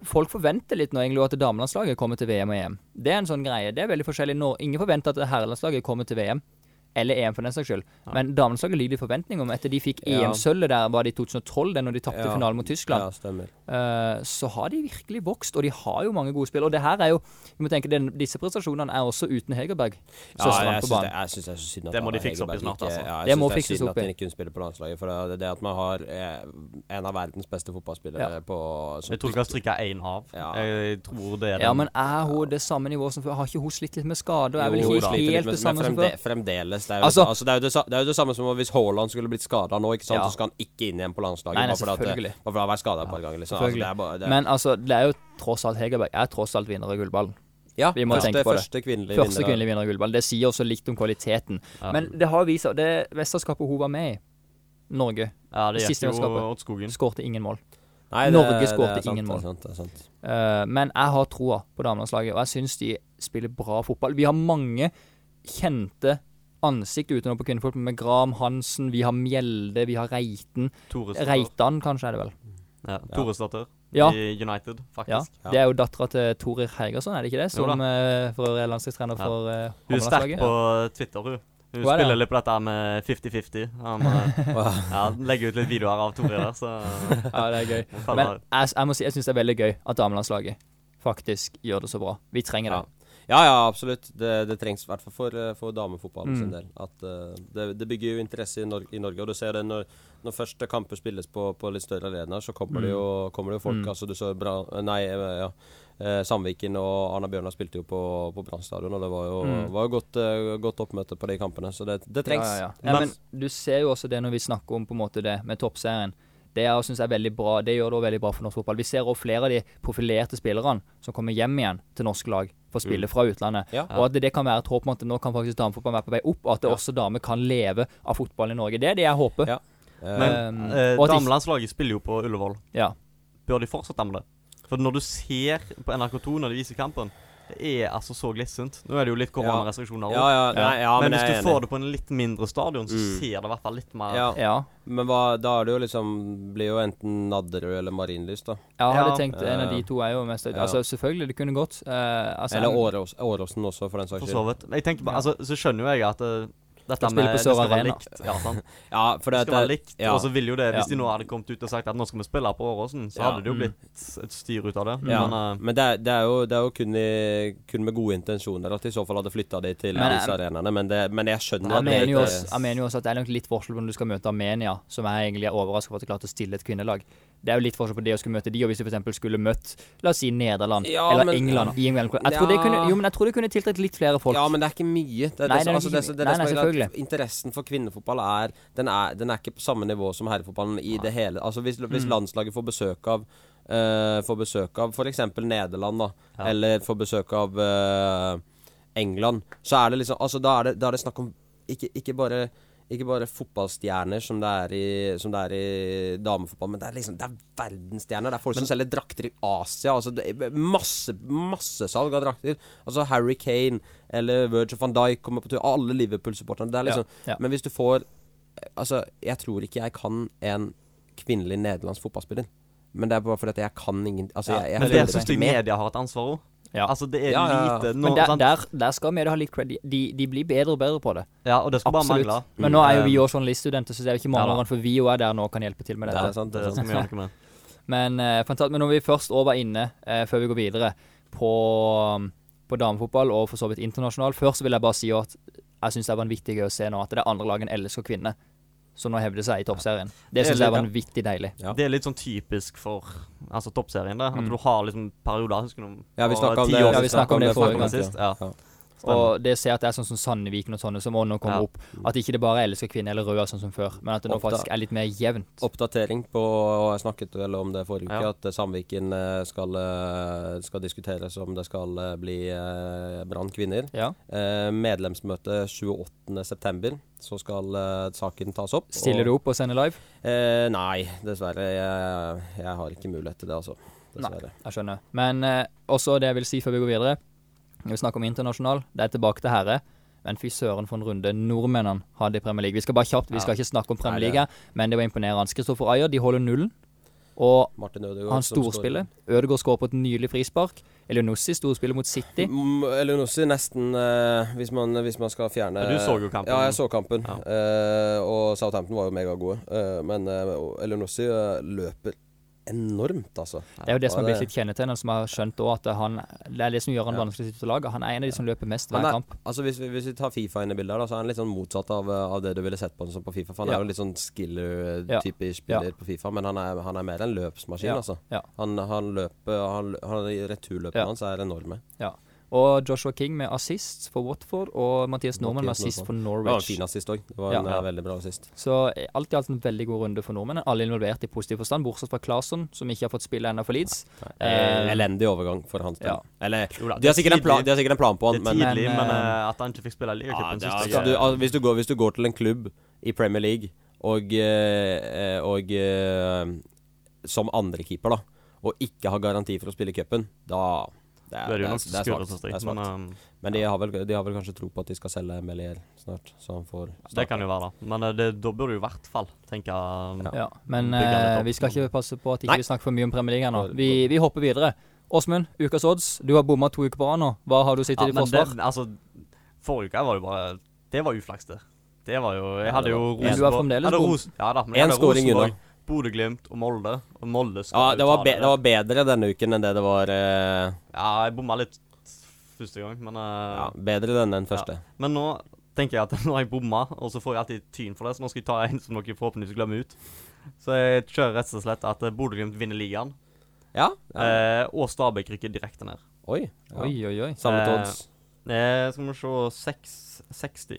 [SPEAKER 5] Folk forventer litt nå egentlig at damelandslaget kommer til VM og EM. Det er en sånn greie. Det er veldig forskjellig nå. Ingen forventer at herrelandslaget kommer til VM. Eller EM, for den saks skyld. Men damelandslaget ligger i forventning om. Etter de fikk
[SPEAKER 1] Ja.
[SPEAKER 5] EM-sølvet der, var det i 2012, det når de tapte
[SPEAKER 1] Ja.
[SPEAKER 5] finalen mot Tyskland.
[SPEAKER 1] Ja, stemmer.
[SPEAKER 5] Eh, så har de virkelig vokst, og de har jo mange gode spill. Og det her er jo, vi må tenke, den, disse prestasjonene er også uten Hegerberg.
[SPEAKER 1] Ja,
[SPEAKER 5] Søsteren
[SPEAKER 1] jeg
[SPEAKER 5] på
[SPEAKER 1] syns det,
[SPEAKER 5] banen.
[SPEAKER 1] jeg synes det er så synd at
[SPEAKER 6] Det må
[SPEAKER 1] Anna
[SPEAKER 6] de fikse opp i
[SPEAKER 1] Hegerberg
[SPEAKER 6] snart,
[SPEAKER 1] ikke-
[SPEAKER 6] altså.
[SPEAKER 1] Ja, jeg
[SPEAKER 5] Det
[SPEAKER 1] synes
[SPEAKER 5] må
[SPEAKER 1] det er
[SPEAKER 5] fikses
[SPEAKER 1] synd at
[SPEAKER 5] opp i.
[SPEAKER 1] hun ikke kunne spille på landslaget. For det, det at man har eh, en av verdens beste fotballspillere
[SPEAKER 5] Ja.
[SPEAKER 1] på som
[SPEAKER 6] Jeg tror du kan strikke én av.
[SPEAKER 1] Ja.
[SPEAKER 6] Jeg tror det er den.
[SPEAKER 5] Ja, men er hun det samme nivået som før? Har ikke hun slitt litt med skade? Og er vel
[SPEAKER 1] Jo,
[SPEAKER 5] ikke
[SPEAKER 1] da. sliter litt
[SPEAKER 5] helt
[SPEAKER 1] med-
[SPEAKER 5] det samme
[SPEAKER 1] men
[SPEAKER 5] som
[SPEAKER 1] fremde-
[SPEAKER 5] før?
[SPEAKER 1] Fremdeles. Det er, jo,
[SPEAKER 5] Altså-
[SPEAKER 1] altså, det, er jo det, sa- det er jo det samme som om hvis Haaland skulle blitt skada nå, ikke sant?
[SPEAKER 5] Ja.
[SPEAKER 1] så skal han ikke inn igjen på landslaget.
[SPEAKER 5] Nei,
[SPEAKER 1] bare
[SPEAKER 5] nei,
[SPEAKER 1] fordi at det-
[SPEAKER 5] selvfølgelig.
[SPEAKER 1] Bare fordi han har vært skada et par ganger. Liksom. Altså, det er bare, det er,
[SPEAKER 5] Men altså, det er jo tross alt Hegerberg er tross alt vinner av gullballen.
[SPEAKER 1] ja,
[SPEAKER 5] vi må
[SPEAKER 1] første,
[SPEAKER 5] tenke på det.
[SPEAKER 1] Første kvinnelige
[SPEAKER 5] Første
[SPEAKER 1] vinner.
[SPEAKER 5] kvinnelige vinner av gullballen. Det sier også litt om kvaliteten. Men det har vist seg Det mesterskapet hun var med i, Norge,
[SPEAKER 6] ja, det
[SPEAKER 5] det
[SPEAKER 6] gikk
[SPEAKER 5] siste
[SPEAKER 6] jo
[SPEAKER 5] mesterskapet.
[SPEAKER 6] åt skogen.
[SPEAKER 5] skårte ingen mål.
[SPEAKER 1] Nei, det-
[SPEAKER 5] Norge
[SPEAKER 1] det er
[SPEAKER 5] skårte
[SPEAKER 1] sant,
[SPEAKER 5] ingen
[SPEAKER 1] det er
[SPEAKER 5] mål.
[SPEAKER 1] sant, det er sant.
[SPEAKER 5] Eh, men jeg har troa på damelandslaget, og jeg syns de spiller bra fotball. Vi har mange kjente ansikt utenom på kvinnefotball, med Graham Hansen, vi har Mjelde, vi har Reiten.
[SPEAKER 6] Toresdatter.
[SPEAKER 5] Reitan, kanskje, er det vel?
[SPEAKER 6] Ja. Toresdatter
[SPEAKER 5] Ja.
[SPEAKER 6] i United,
[SPEAKER 5] Ja.
[SPEAKER 6] faktisk.
[SPEAKER 5] Det er jo dattera til Torir Heigersson, er det ikke det?
[SPEAKER 6] Jo da.
[SPEAKER 5] Som eh, for er landslagstrener for eh,
[SPEAKER 6] Hun er
[SPEAKER 5] håndballandslaget.
[SPEAKER 6] sterk på Twitter, hun. Hun
[SPEAKER 5] Hva er det?
[SPEAKER 6] spiller litt på dette med 50-50. Han eh,
[SPEAKER 5] *laughs*
[SPEAKER 6] ja, legger ut litt videoer av Tore der, så
[SPEAKER 5] Ja, det er
[SPEAKER 6] *laughs*
[SPEAKER 5] gøy.
[SPEAKER 6] Faller.
[SPEAKER 5] Men jeg, jeg må si jeg syns det er veldig gøy at damelandslaget faktisk gjør det så bra. Vi trenger det.
[SPEAKER 1] Ja. Ja, ja, absolutt. Det, det trengs i hvert fall for, eh, for damefotballen
[SPEAKER 5] Mm.
[SPEAKER 1] sin del. At, eh, det, det bygger jo interesse i, Nor i Norge, og du ser det når, når først kamper spilles på, på litt større arenaer, så kommer, det jo,
[SPEAKER 5] Mm.
[SPEAKER 1] kommer det jo folk. Altså, du så bra, nei, eh, ja. eh, Sandviken og Arna Bjørnar spilte jo på, på Brann stadion, og det var jo, var jo godt, eh, godt oppmøte på de kampene. Så det, det trengs.
[SPEAKER 5] Mm. Ja, ja, ja. ja, men du ser jo også det når vi snakker om på en måte det med toppserien. Det jeg synes er veldig bra, det gjør det også veldig bra for norsk fotball. Vi ser også flere av de profilerte spillerne som kommer hjem igjen til norsk lag for å spille fra utlandet.
[SPEAKER 1] Ja.
[SPEAKER 5] Og at det kan være et håp om at nå kan faktisk damefotballen være på vei opp, og at det også damer kan leve av fotball i Norge. Det er det jeg håper.
[SPEAKER 1] Ja. Eh,
[SPEAKER 6] Men
[SPEAKER 5] Um,
[SPEAKER 6] eh,
[SPEAKER 5] og at de-
[SPEAKER 6] damelandslaget spiller jo på Ullevål.
[SPEAKER 5] Ja.
[SPEAKER 6] Bør de fortsette med det? For når du ser på NRK2 når de viser kampen, det er altså så glissent. Nå er det jo litt koronarestriksjoner også.
[SPEAKER 1] ja, Eh, ja, nei, ja,
[SPEAKER 6] men,
[SPEAKER 1] men jeg
[SPEAKER 6] hvis
[SPEAKER 1] er
[SPEAKER 6] du
[SPEAKER 1] enig.
[SPEAKER 6] får det på en litt mindre stadion, så
[SPEAKER 1] Mm.
[SPEAKER 6] ser det i hvert fall litt mer
[SPEAKER 1] ja,
[SPEAKER 5] ja.
[SPEAKER 1] Men hva, da er det jo liksom Blir jo enten Nadderud eller Marienlyst, da.
[SPEAKER 5] Jeg hadde
[SPEAKER 6] Ja.
[SPEAKER 5] tenkt en av de to er jo mest Altså Selvfølgelig, det kunne gått. eh, altså,
[SPEAKER 1] Eller Årås, Åråsen også, for den saks
[SPEAKER 6] For så
[SPEAKER 1] skyld.
[SPEAKER 6] vidt. Men jeg tenker bare, altså, så skjønner jo jeg at eh, dette
[SPEAKER 5] Skal spille
[SPEAKER 6] med
[SPEAKER 5] på
[SPEAKER 6] det
[SPEAKER 5] Sør
[SPEAKER 6] skal være
[SPEAKER 5] Arena.
[SPEAKER 6] likt. Ja,
[SPEAKER 1] *laughs*
[SPEAKER 6] sant.
[SPEAKER 1] Ja, for
[SPEAKER 6] Det
[SPEAKER 1] det,
[SPEAKER 6] skal være likt.
[SPEAKER 1] ja.
[SPEAKER 6] Og så vil jo det, hvis
[SPEAKER 5] Ja.
[SPEAKER 6] de nå hadde kommet ut og sagt at nå skal vi spille på Åråsen, så
[SPEAKER 1] Ja. Mm.
[SPEAKER 6] hadde det jo blitt et styr ut av det.
[SPEAKER 1] Ja,
[SPEAKER 6] Men eh,
[SPEAKER 1] men det er, det er jo, det er jo kun, i, kun med gode intensjoner at de i så fall hadde flytta de til
[SPEAKER 5] Men-
[SPEAKER 1] disse arenaene, men, det- men jeg skjønner
[SPEAKER 5] Jeg
[SPEAKER 1] at det
[SPEAKER 5] mener, jo
[SPEAKER 1] ikke-
[SPEAKER 5] også, jeg mener jo også at det er nok litt forskjell på når du skal møte Armenia, som jeg egentlig er overraska for at de klarte å stille et kvinnelag. Det er jo litt forskjell på det å skulle møte de, og hvis du f.eks. skulle møtt la oss si Nederland
[SPEAKER 1] Ja,
[SPEAKER 5] eller
[SPEAKER 1] men-
[SPEAKER 5] England i en VM. Jeg tror det
[SPEAKER 1] Ja.
[SPEAKER 5] kunne, jo, men jeg tror det kunne tiltrukket litt flere folk.
[SPEAKER 1] Ja, men det er ikke mye. Det er det som,
[SPEAKER 5] Nei, det er
[SPEAKER 1] altså,
[SPEAKER 5] ikke
[SPEAKER 1] det, som- det, er det som
[SPEAKER 5] mye. Nei, nei,
[SPEAKER 1] er greia,
[SPEAKER 5] selvfølgelig.
[SPEAKER 1] at Interessen for kvinnefotball er den, er den er ikke på samme nivå som herrefotballen i det hele. Altså Hvis, hvis landslaget får besøk av eh, Får besøk av f.eks. Nederland, da, eller får besøk av eh, England, så er det liksom Altså Da er det, da er det snakk om ikke, ikke bare ikke bare fotballstjerner som det er i, som det er i damefotball, men det er liksom Det er verdensstjerner. Det er folk som selger drakter i Asia. Altså det er masse massesalg av drakter. Altså Harry Kane eller Virgil van Dijk kommer på tur. Alle Liverpool-supporterne. Det er liksom
[SPEAKER 5] Ja, ja.
[SPEAKER 1] Men hvis du får Altså, jeg tror ikke jeg kan en kvinnelig nederlandsk fotballspiller. Men det er bare fordi at jeg kan ingen Altså,
[SPEAKER 5] Ja,
[SPEAKER 1] jeg, jeg
[SPEAKER 6] men
[SPEAKER 1] følger
[SPEAKER 6] der syns
[SPEAKER 1] ikke
[SPEAKER 6] jeg
[SPEAKER 1] med.
[SPEAKER 6] media har et ansvar òg.
[SPEAKER 5] Ja.
[SPEAKER 6] Altså, det er
[SPEAKER 1] Ja, ja, ja.
[SPEAKER 6] lite
[SPEAKER 5] Men
[SPEAKER 6] nå,
[SPEAKER 5] der,
[SPEAKER 6] sant?
[SPEAKER 5] der, der skal media ha litt cred. De, de blir bedre og bedre på det.
[SPEAKER 6] Ja, og det skulle bare
[SPEAKER 5] Absolutt.
[SPEAKER 6] mangle.
[SPEAKER 5] Men nå er jo vi
[SPEAKER 6] Mm,
[SPEAKER 1] Ehm.
[SPEAKER 5] òg journaliststudenter, så det er jo ikke
[SPEAKER 6] Ja, da.
[SPEAKER 5] mangleren, for vi òg er der nå og kan hjelpe til med
[SPEAKER 1] Det
[SPEAKER 5] dette.
[SPEAKER 1] er sant, det
[SPEAKER 6] Det sånn
[SPEAKER 1] er sant.
[SPEAKER 6] skal vi gjøre noe med.
[SPEAKER 5] Men, eh, fantastisk. Men når vi først også var inne, eh, før vi går videre, på, mm, på damefotball og for så vidt internasjonal, først så vil jeg bare si at jeg syns det er vanvittig gøy å se nå at det er andre lag enn LSK kvinner som nå hevder seg i toppserien. Det
[SPEAKER 6] Det er
[SPEAKER 5] syns jeg er
[SPEAKER 6] litt-
[SPEAKER 5] vanvittig deilig.
[SPEAKER 1] Ja. Mm.
[SPEAKER 6] Det er litt sånn typisk for altså toppserien. det At du har liksom perioder Husker du om
[SPEAKER 1] Ja, vi
[SPEAKER 6] for
[SPEAKER 1] snakka om
[SPEAKER 6] ti
[SPEAKER 1] det.
[SPEAKER 6] år
[SPEAKER 5] Ja, vi
[SPEAKER 6] siden?
[SPEAKER 5] snakket om det
[SPEAKER 6] Snakket
[SPEAKER 5] forrige gang.
[SPEAKER 6] sist. Ja.
[SPEAKER 1] Ja.
[SPEAKER 5] Og det ser jeg at det er sånn som Sandviken og sånne som også nå kommer
[SPEAKER 6] Ja.
[SPEAKER 5] opp. At ikke det bare er LSK kvinner eller Røa sånn som før, men at det nå
[SPEAKER 1] Oppda-
[SPEAKER 5] faktisk er litt mer jevnt.
[SPEAKER 1] Oppdatering på og Jeg snakket vel om det forrige uke,
[SPEAKER 6] Ja.
[SPEAKER 1] at eh, Sandviken eh, skal, eh, skal diskuteres om det skal eh, bli eh, Brann kvinner.
[SPEAKER 5] Ja.
[SPEAKER 1] Eh, Medlemsmøte 28.9. Så skal eh, saken tas opp.
[SPEAKER 5] Stiller du opp og sender live?
[SPEAKER 1] Eh, nei, dessverre. Jeg, jeg har ikke mulighet til det, altså. Dessverre.
[SPEAKER 5] Jeg skjønner. Men eh, også det jeg vil si før vi går videre. Når vi snakker om internasjonal, det er tilbake til herre. Men fy søren for en runde nordmennene hadde i Premier League. Vi skal bare kjapt, vi skal ikke snakke om Premier
[SPEAKER 1] Nei, det-
[SPEAKER 5] League, her, men det var imponerende. Kristoffer Ayer, de holder nullen. Og
[SPEAKER 1] Martin Ødegaard
[SPEAKER 5] han
[SPEAKER 1] som skårer.
[SPEAKER 5] storspiller. Ødegaard skårer på et nydelig frispark. Elionossi storspiller mot City.
[SPEAKER 1] Mm, Elionossi nesten eh, hvis, man, hvis man skal fjerne
[SPEAKER 6] Ja, du så jo kampen.
[SPEAKER 1] Ja, jeg så kampen.
[SPEAKER 6] Ja.
[SPEAKER 1] Eh, og Southampton var jo megagode. Eh, men uh, Elionossi eh, løper enormt, altså.
[SPEAKER 5] Det er jo det som har
[SPEAKER 1] Ja, det-
[SPEAKER 5] blitt sitt kjennetegn, og som har skjønt også at han Det er det som gjør han vanskelig å sitte på laget. Han er en av de som løper mest
[SPEAKER 1] Han
[SPEAKER 5] hver
[SPEAKER 1] er,
[SPEAKER 5] kamp.
[SPEAKER 1] altså hvis, vi- hvis vi tar Fifa inn i bildet, her da, så er han litt sånn motsatt av, eh, av det du ville sett på han som på Fifa. For han
[SPEAKER 5] Ja.
[SPEAKER 1] er jo litt sånn
[SPEAKER 5] Ja.
[SPEAKER 1] skiller-type spiller
[SPEAKER 5] Ja.
[SPEAKER 1] på Fifa, men han er, han er mer en løpsmaskin,
[SPEAKER 5] Ja.
[SPEAKER 1] altså.
[SPEAKER 5] Ja.
[SPEAKER 1] Han, han løper han, han, Returløpene
[SPEAKER 5] Ja.
[SPEAKER 1] hans er enorme.
[SPEAKER 5] ja. Og Joshua King med assist for Watford, og Mathias Norman med
[SPEAKER 1] Mathias
[SPEAKER 5] assist for
[SPEAKER 1] Det var en
[SPEAKER 5] Norwich.
[SPEAKER 1] fin assist òg. Det var en
[SPEAKER 5] Ja.
[SPEAKER 1] eh, veldig bra assist.
[SPEAKER 5] Så eh, alt i alt en veldig god runde for nordmennene. Alle involvert i positiv forstand, bortsett fra Claesson, som ikke har fått spille ennå for Leeds.
[SPEAKER 1] Eh,
[SPEAKER 5] Eh,
[SPEAKER 1] elendig overgang for hans del.
[SPEAKER 5] ja.
[SPEAKER 1] Eller
[SPEAKER 6] Jo
[SPEAKER 1] de
[SPEAKER 6] da,
[SPEAKER 1] har,
[SPEAKER 6] det er
[SPEAKER 1] sikkert en plan,
[SPEAKER 6] tidlig.
[SPEAKER 1] de har sikkert en plan på
[SPEAKER 6] Det
[SPEAKER 1] han,
[SPEAKER 6] er
[SPEAKER 1] men
[SPEAKER 6] tidlig,
[SPEAKER 5] men,
[SPEAKER 6] men,
[SPEAKER 5] eh,
[SPEAKER 6] eh, at han ikke fikk spille
[SPEAKER 1] ja,
[SPEAKER 6] ligacupen
[SPEAKER 1] det er,
[SPEAKER 6] sist.
[SPEAKER 1] altså, du, al- hvis, du går, hvis du går til en klubb i Premier League og, eh, eh, og eh, som andrekeeper, da, og ikke har garanti for å spille i cupen, da det
[SPEAKER 6] Det er jo
[SPEAKER 1] det
[SPEAKER 6] nok
[SPEAKER 1] det er
[SPEAKER 6] skuret
[SPEAKER 1] svakt.
[SPEAKER 6] som
[SPEAKER 1] Det er svakt.
[SPEAKER 6] stryker, men
[SPEAKER 1] Men,
[SPEAKER 6] eh,
[SPEAKER 1] de, har vel, de har vel kanskje tro på at de skal selge Melier snart, så han får
[SPEAKER 6] det kan jo være, da. Men eh, det, da burde du i hvert fall tenke eh,
[SPEAKER 5] ja, men
[SPEAKER 6] Bygger han litt
[SPEAKER 5] eh,
[SPEAKER 6] opp.
[SPEAKER 5] vi skal ikke passe på at ikke
[SPEAKER 1] Nei.
[SPEAKER 5] vi ikke snakker for mye om Premier League her nå. Vi, vi hopper videre. Åsmund, ukas odds. Du har bomma to uker på rad nå. Hva har du sittet
[SPEAKER 6] ja,
[SPEAKER 5] i
[SPEAKER 6] Men det,
[SPEAKER 5] forsvar?
[SPEAKER 6] altså Forrige uke var jo bare Det var uflaks, det. Det var jo Jeg
[SPEAKER 1] Ja,
[SPEAKER 6] hadde
[SPEAKER 1] det
[SPEAKER 6] jo
[SPEAKER 1] var-
[SPEAKER 5] Men du er
[SPEAKER 6] Rosenborg
[SPEAKER 5] fremdeles
[SPEAKER 6] Jeg hadde
[SPEAKER 5] bom.
[SPEAKER 6] Ros- Ja da, men
[SPEAKER 1] En
[SPEAKER 6] jeg hadde
[SPEAKER 1] scoring
[SPEAKER 6] Rosenborg,
[SPEAKER 1] unna.
[SPEAKER 6] Bodø-Glimt og Molde. Og Molde skal
[SPEAKER 1] Ja,
[SPEAKER 6] jo
[SPEAKER 1] det var,
[SPEAKER 6] ta
[SPEAKER 1] be, det var bedre denne uken enn det det var eh,
[SPEAKER 6] Ja, jeg bomma litt første gang, men eh,
[SPEAKER 1] Ja, bedre denne enn første.
[SPEAKER 6] Men nå tenker jeg at *laughs* nå har jeg bomma, og så får jeg alltid tyn for det, så nå skal jeg ta en som dere forhåpentligvis glemmer ut. Så jeg kjører rett og slett at eh, Bodø-Glimt vinner ligaen,
[SPEAKER 1] Ja. ja.
[SPEAKER 6] eh, og Stabæk rykker direkte ned.
[SPEAKER 1] Oi. Ja.
[SPEAKER 5] Oi, oi, oi.
[SPEAKER 1] Samlet
[SPEAKER 6] Eh,
[SPEAKER 1] odds.
[SPEAKER 6] Eh, skal vi se seks- 60.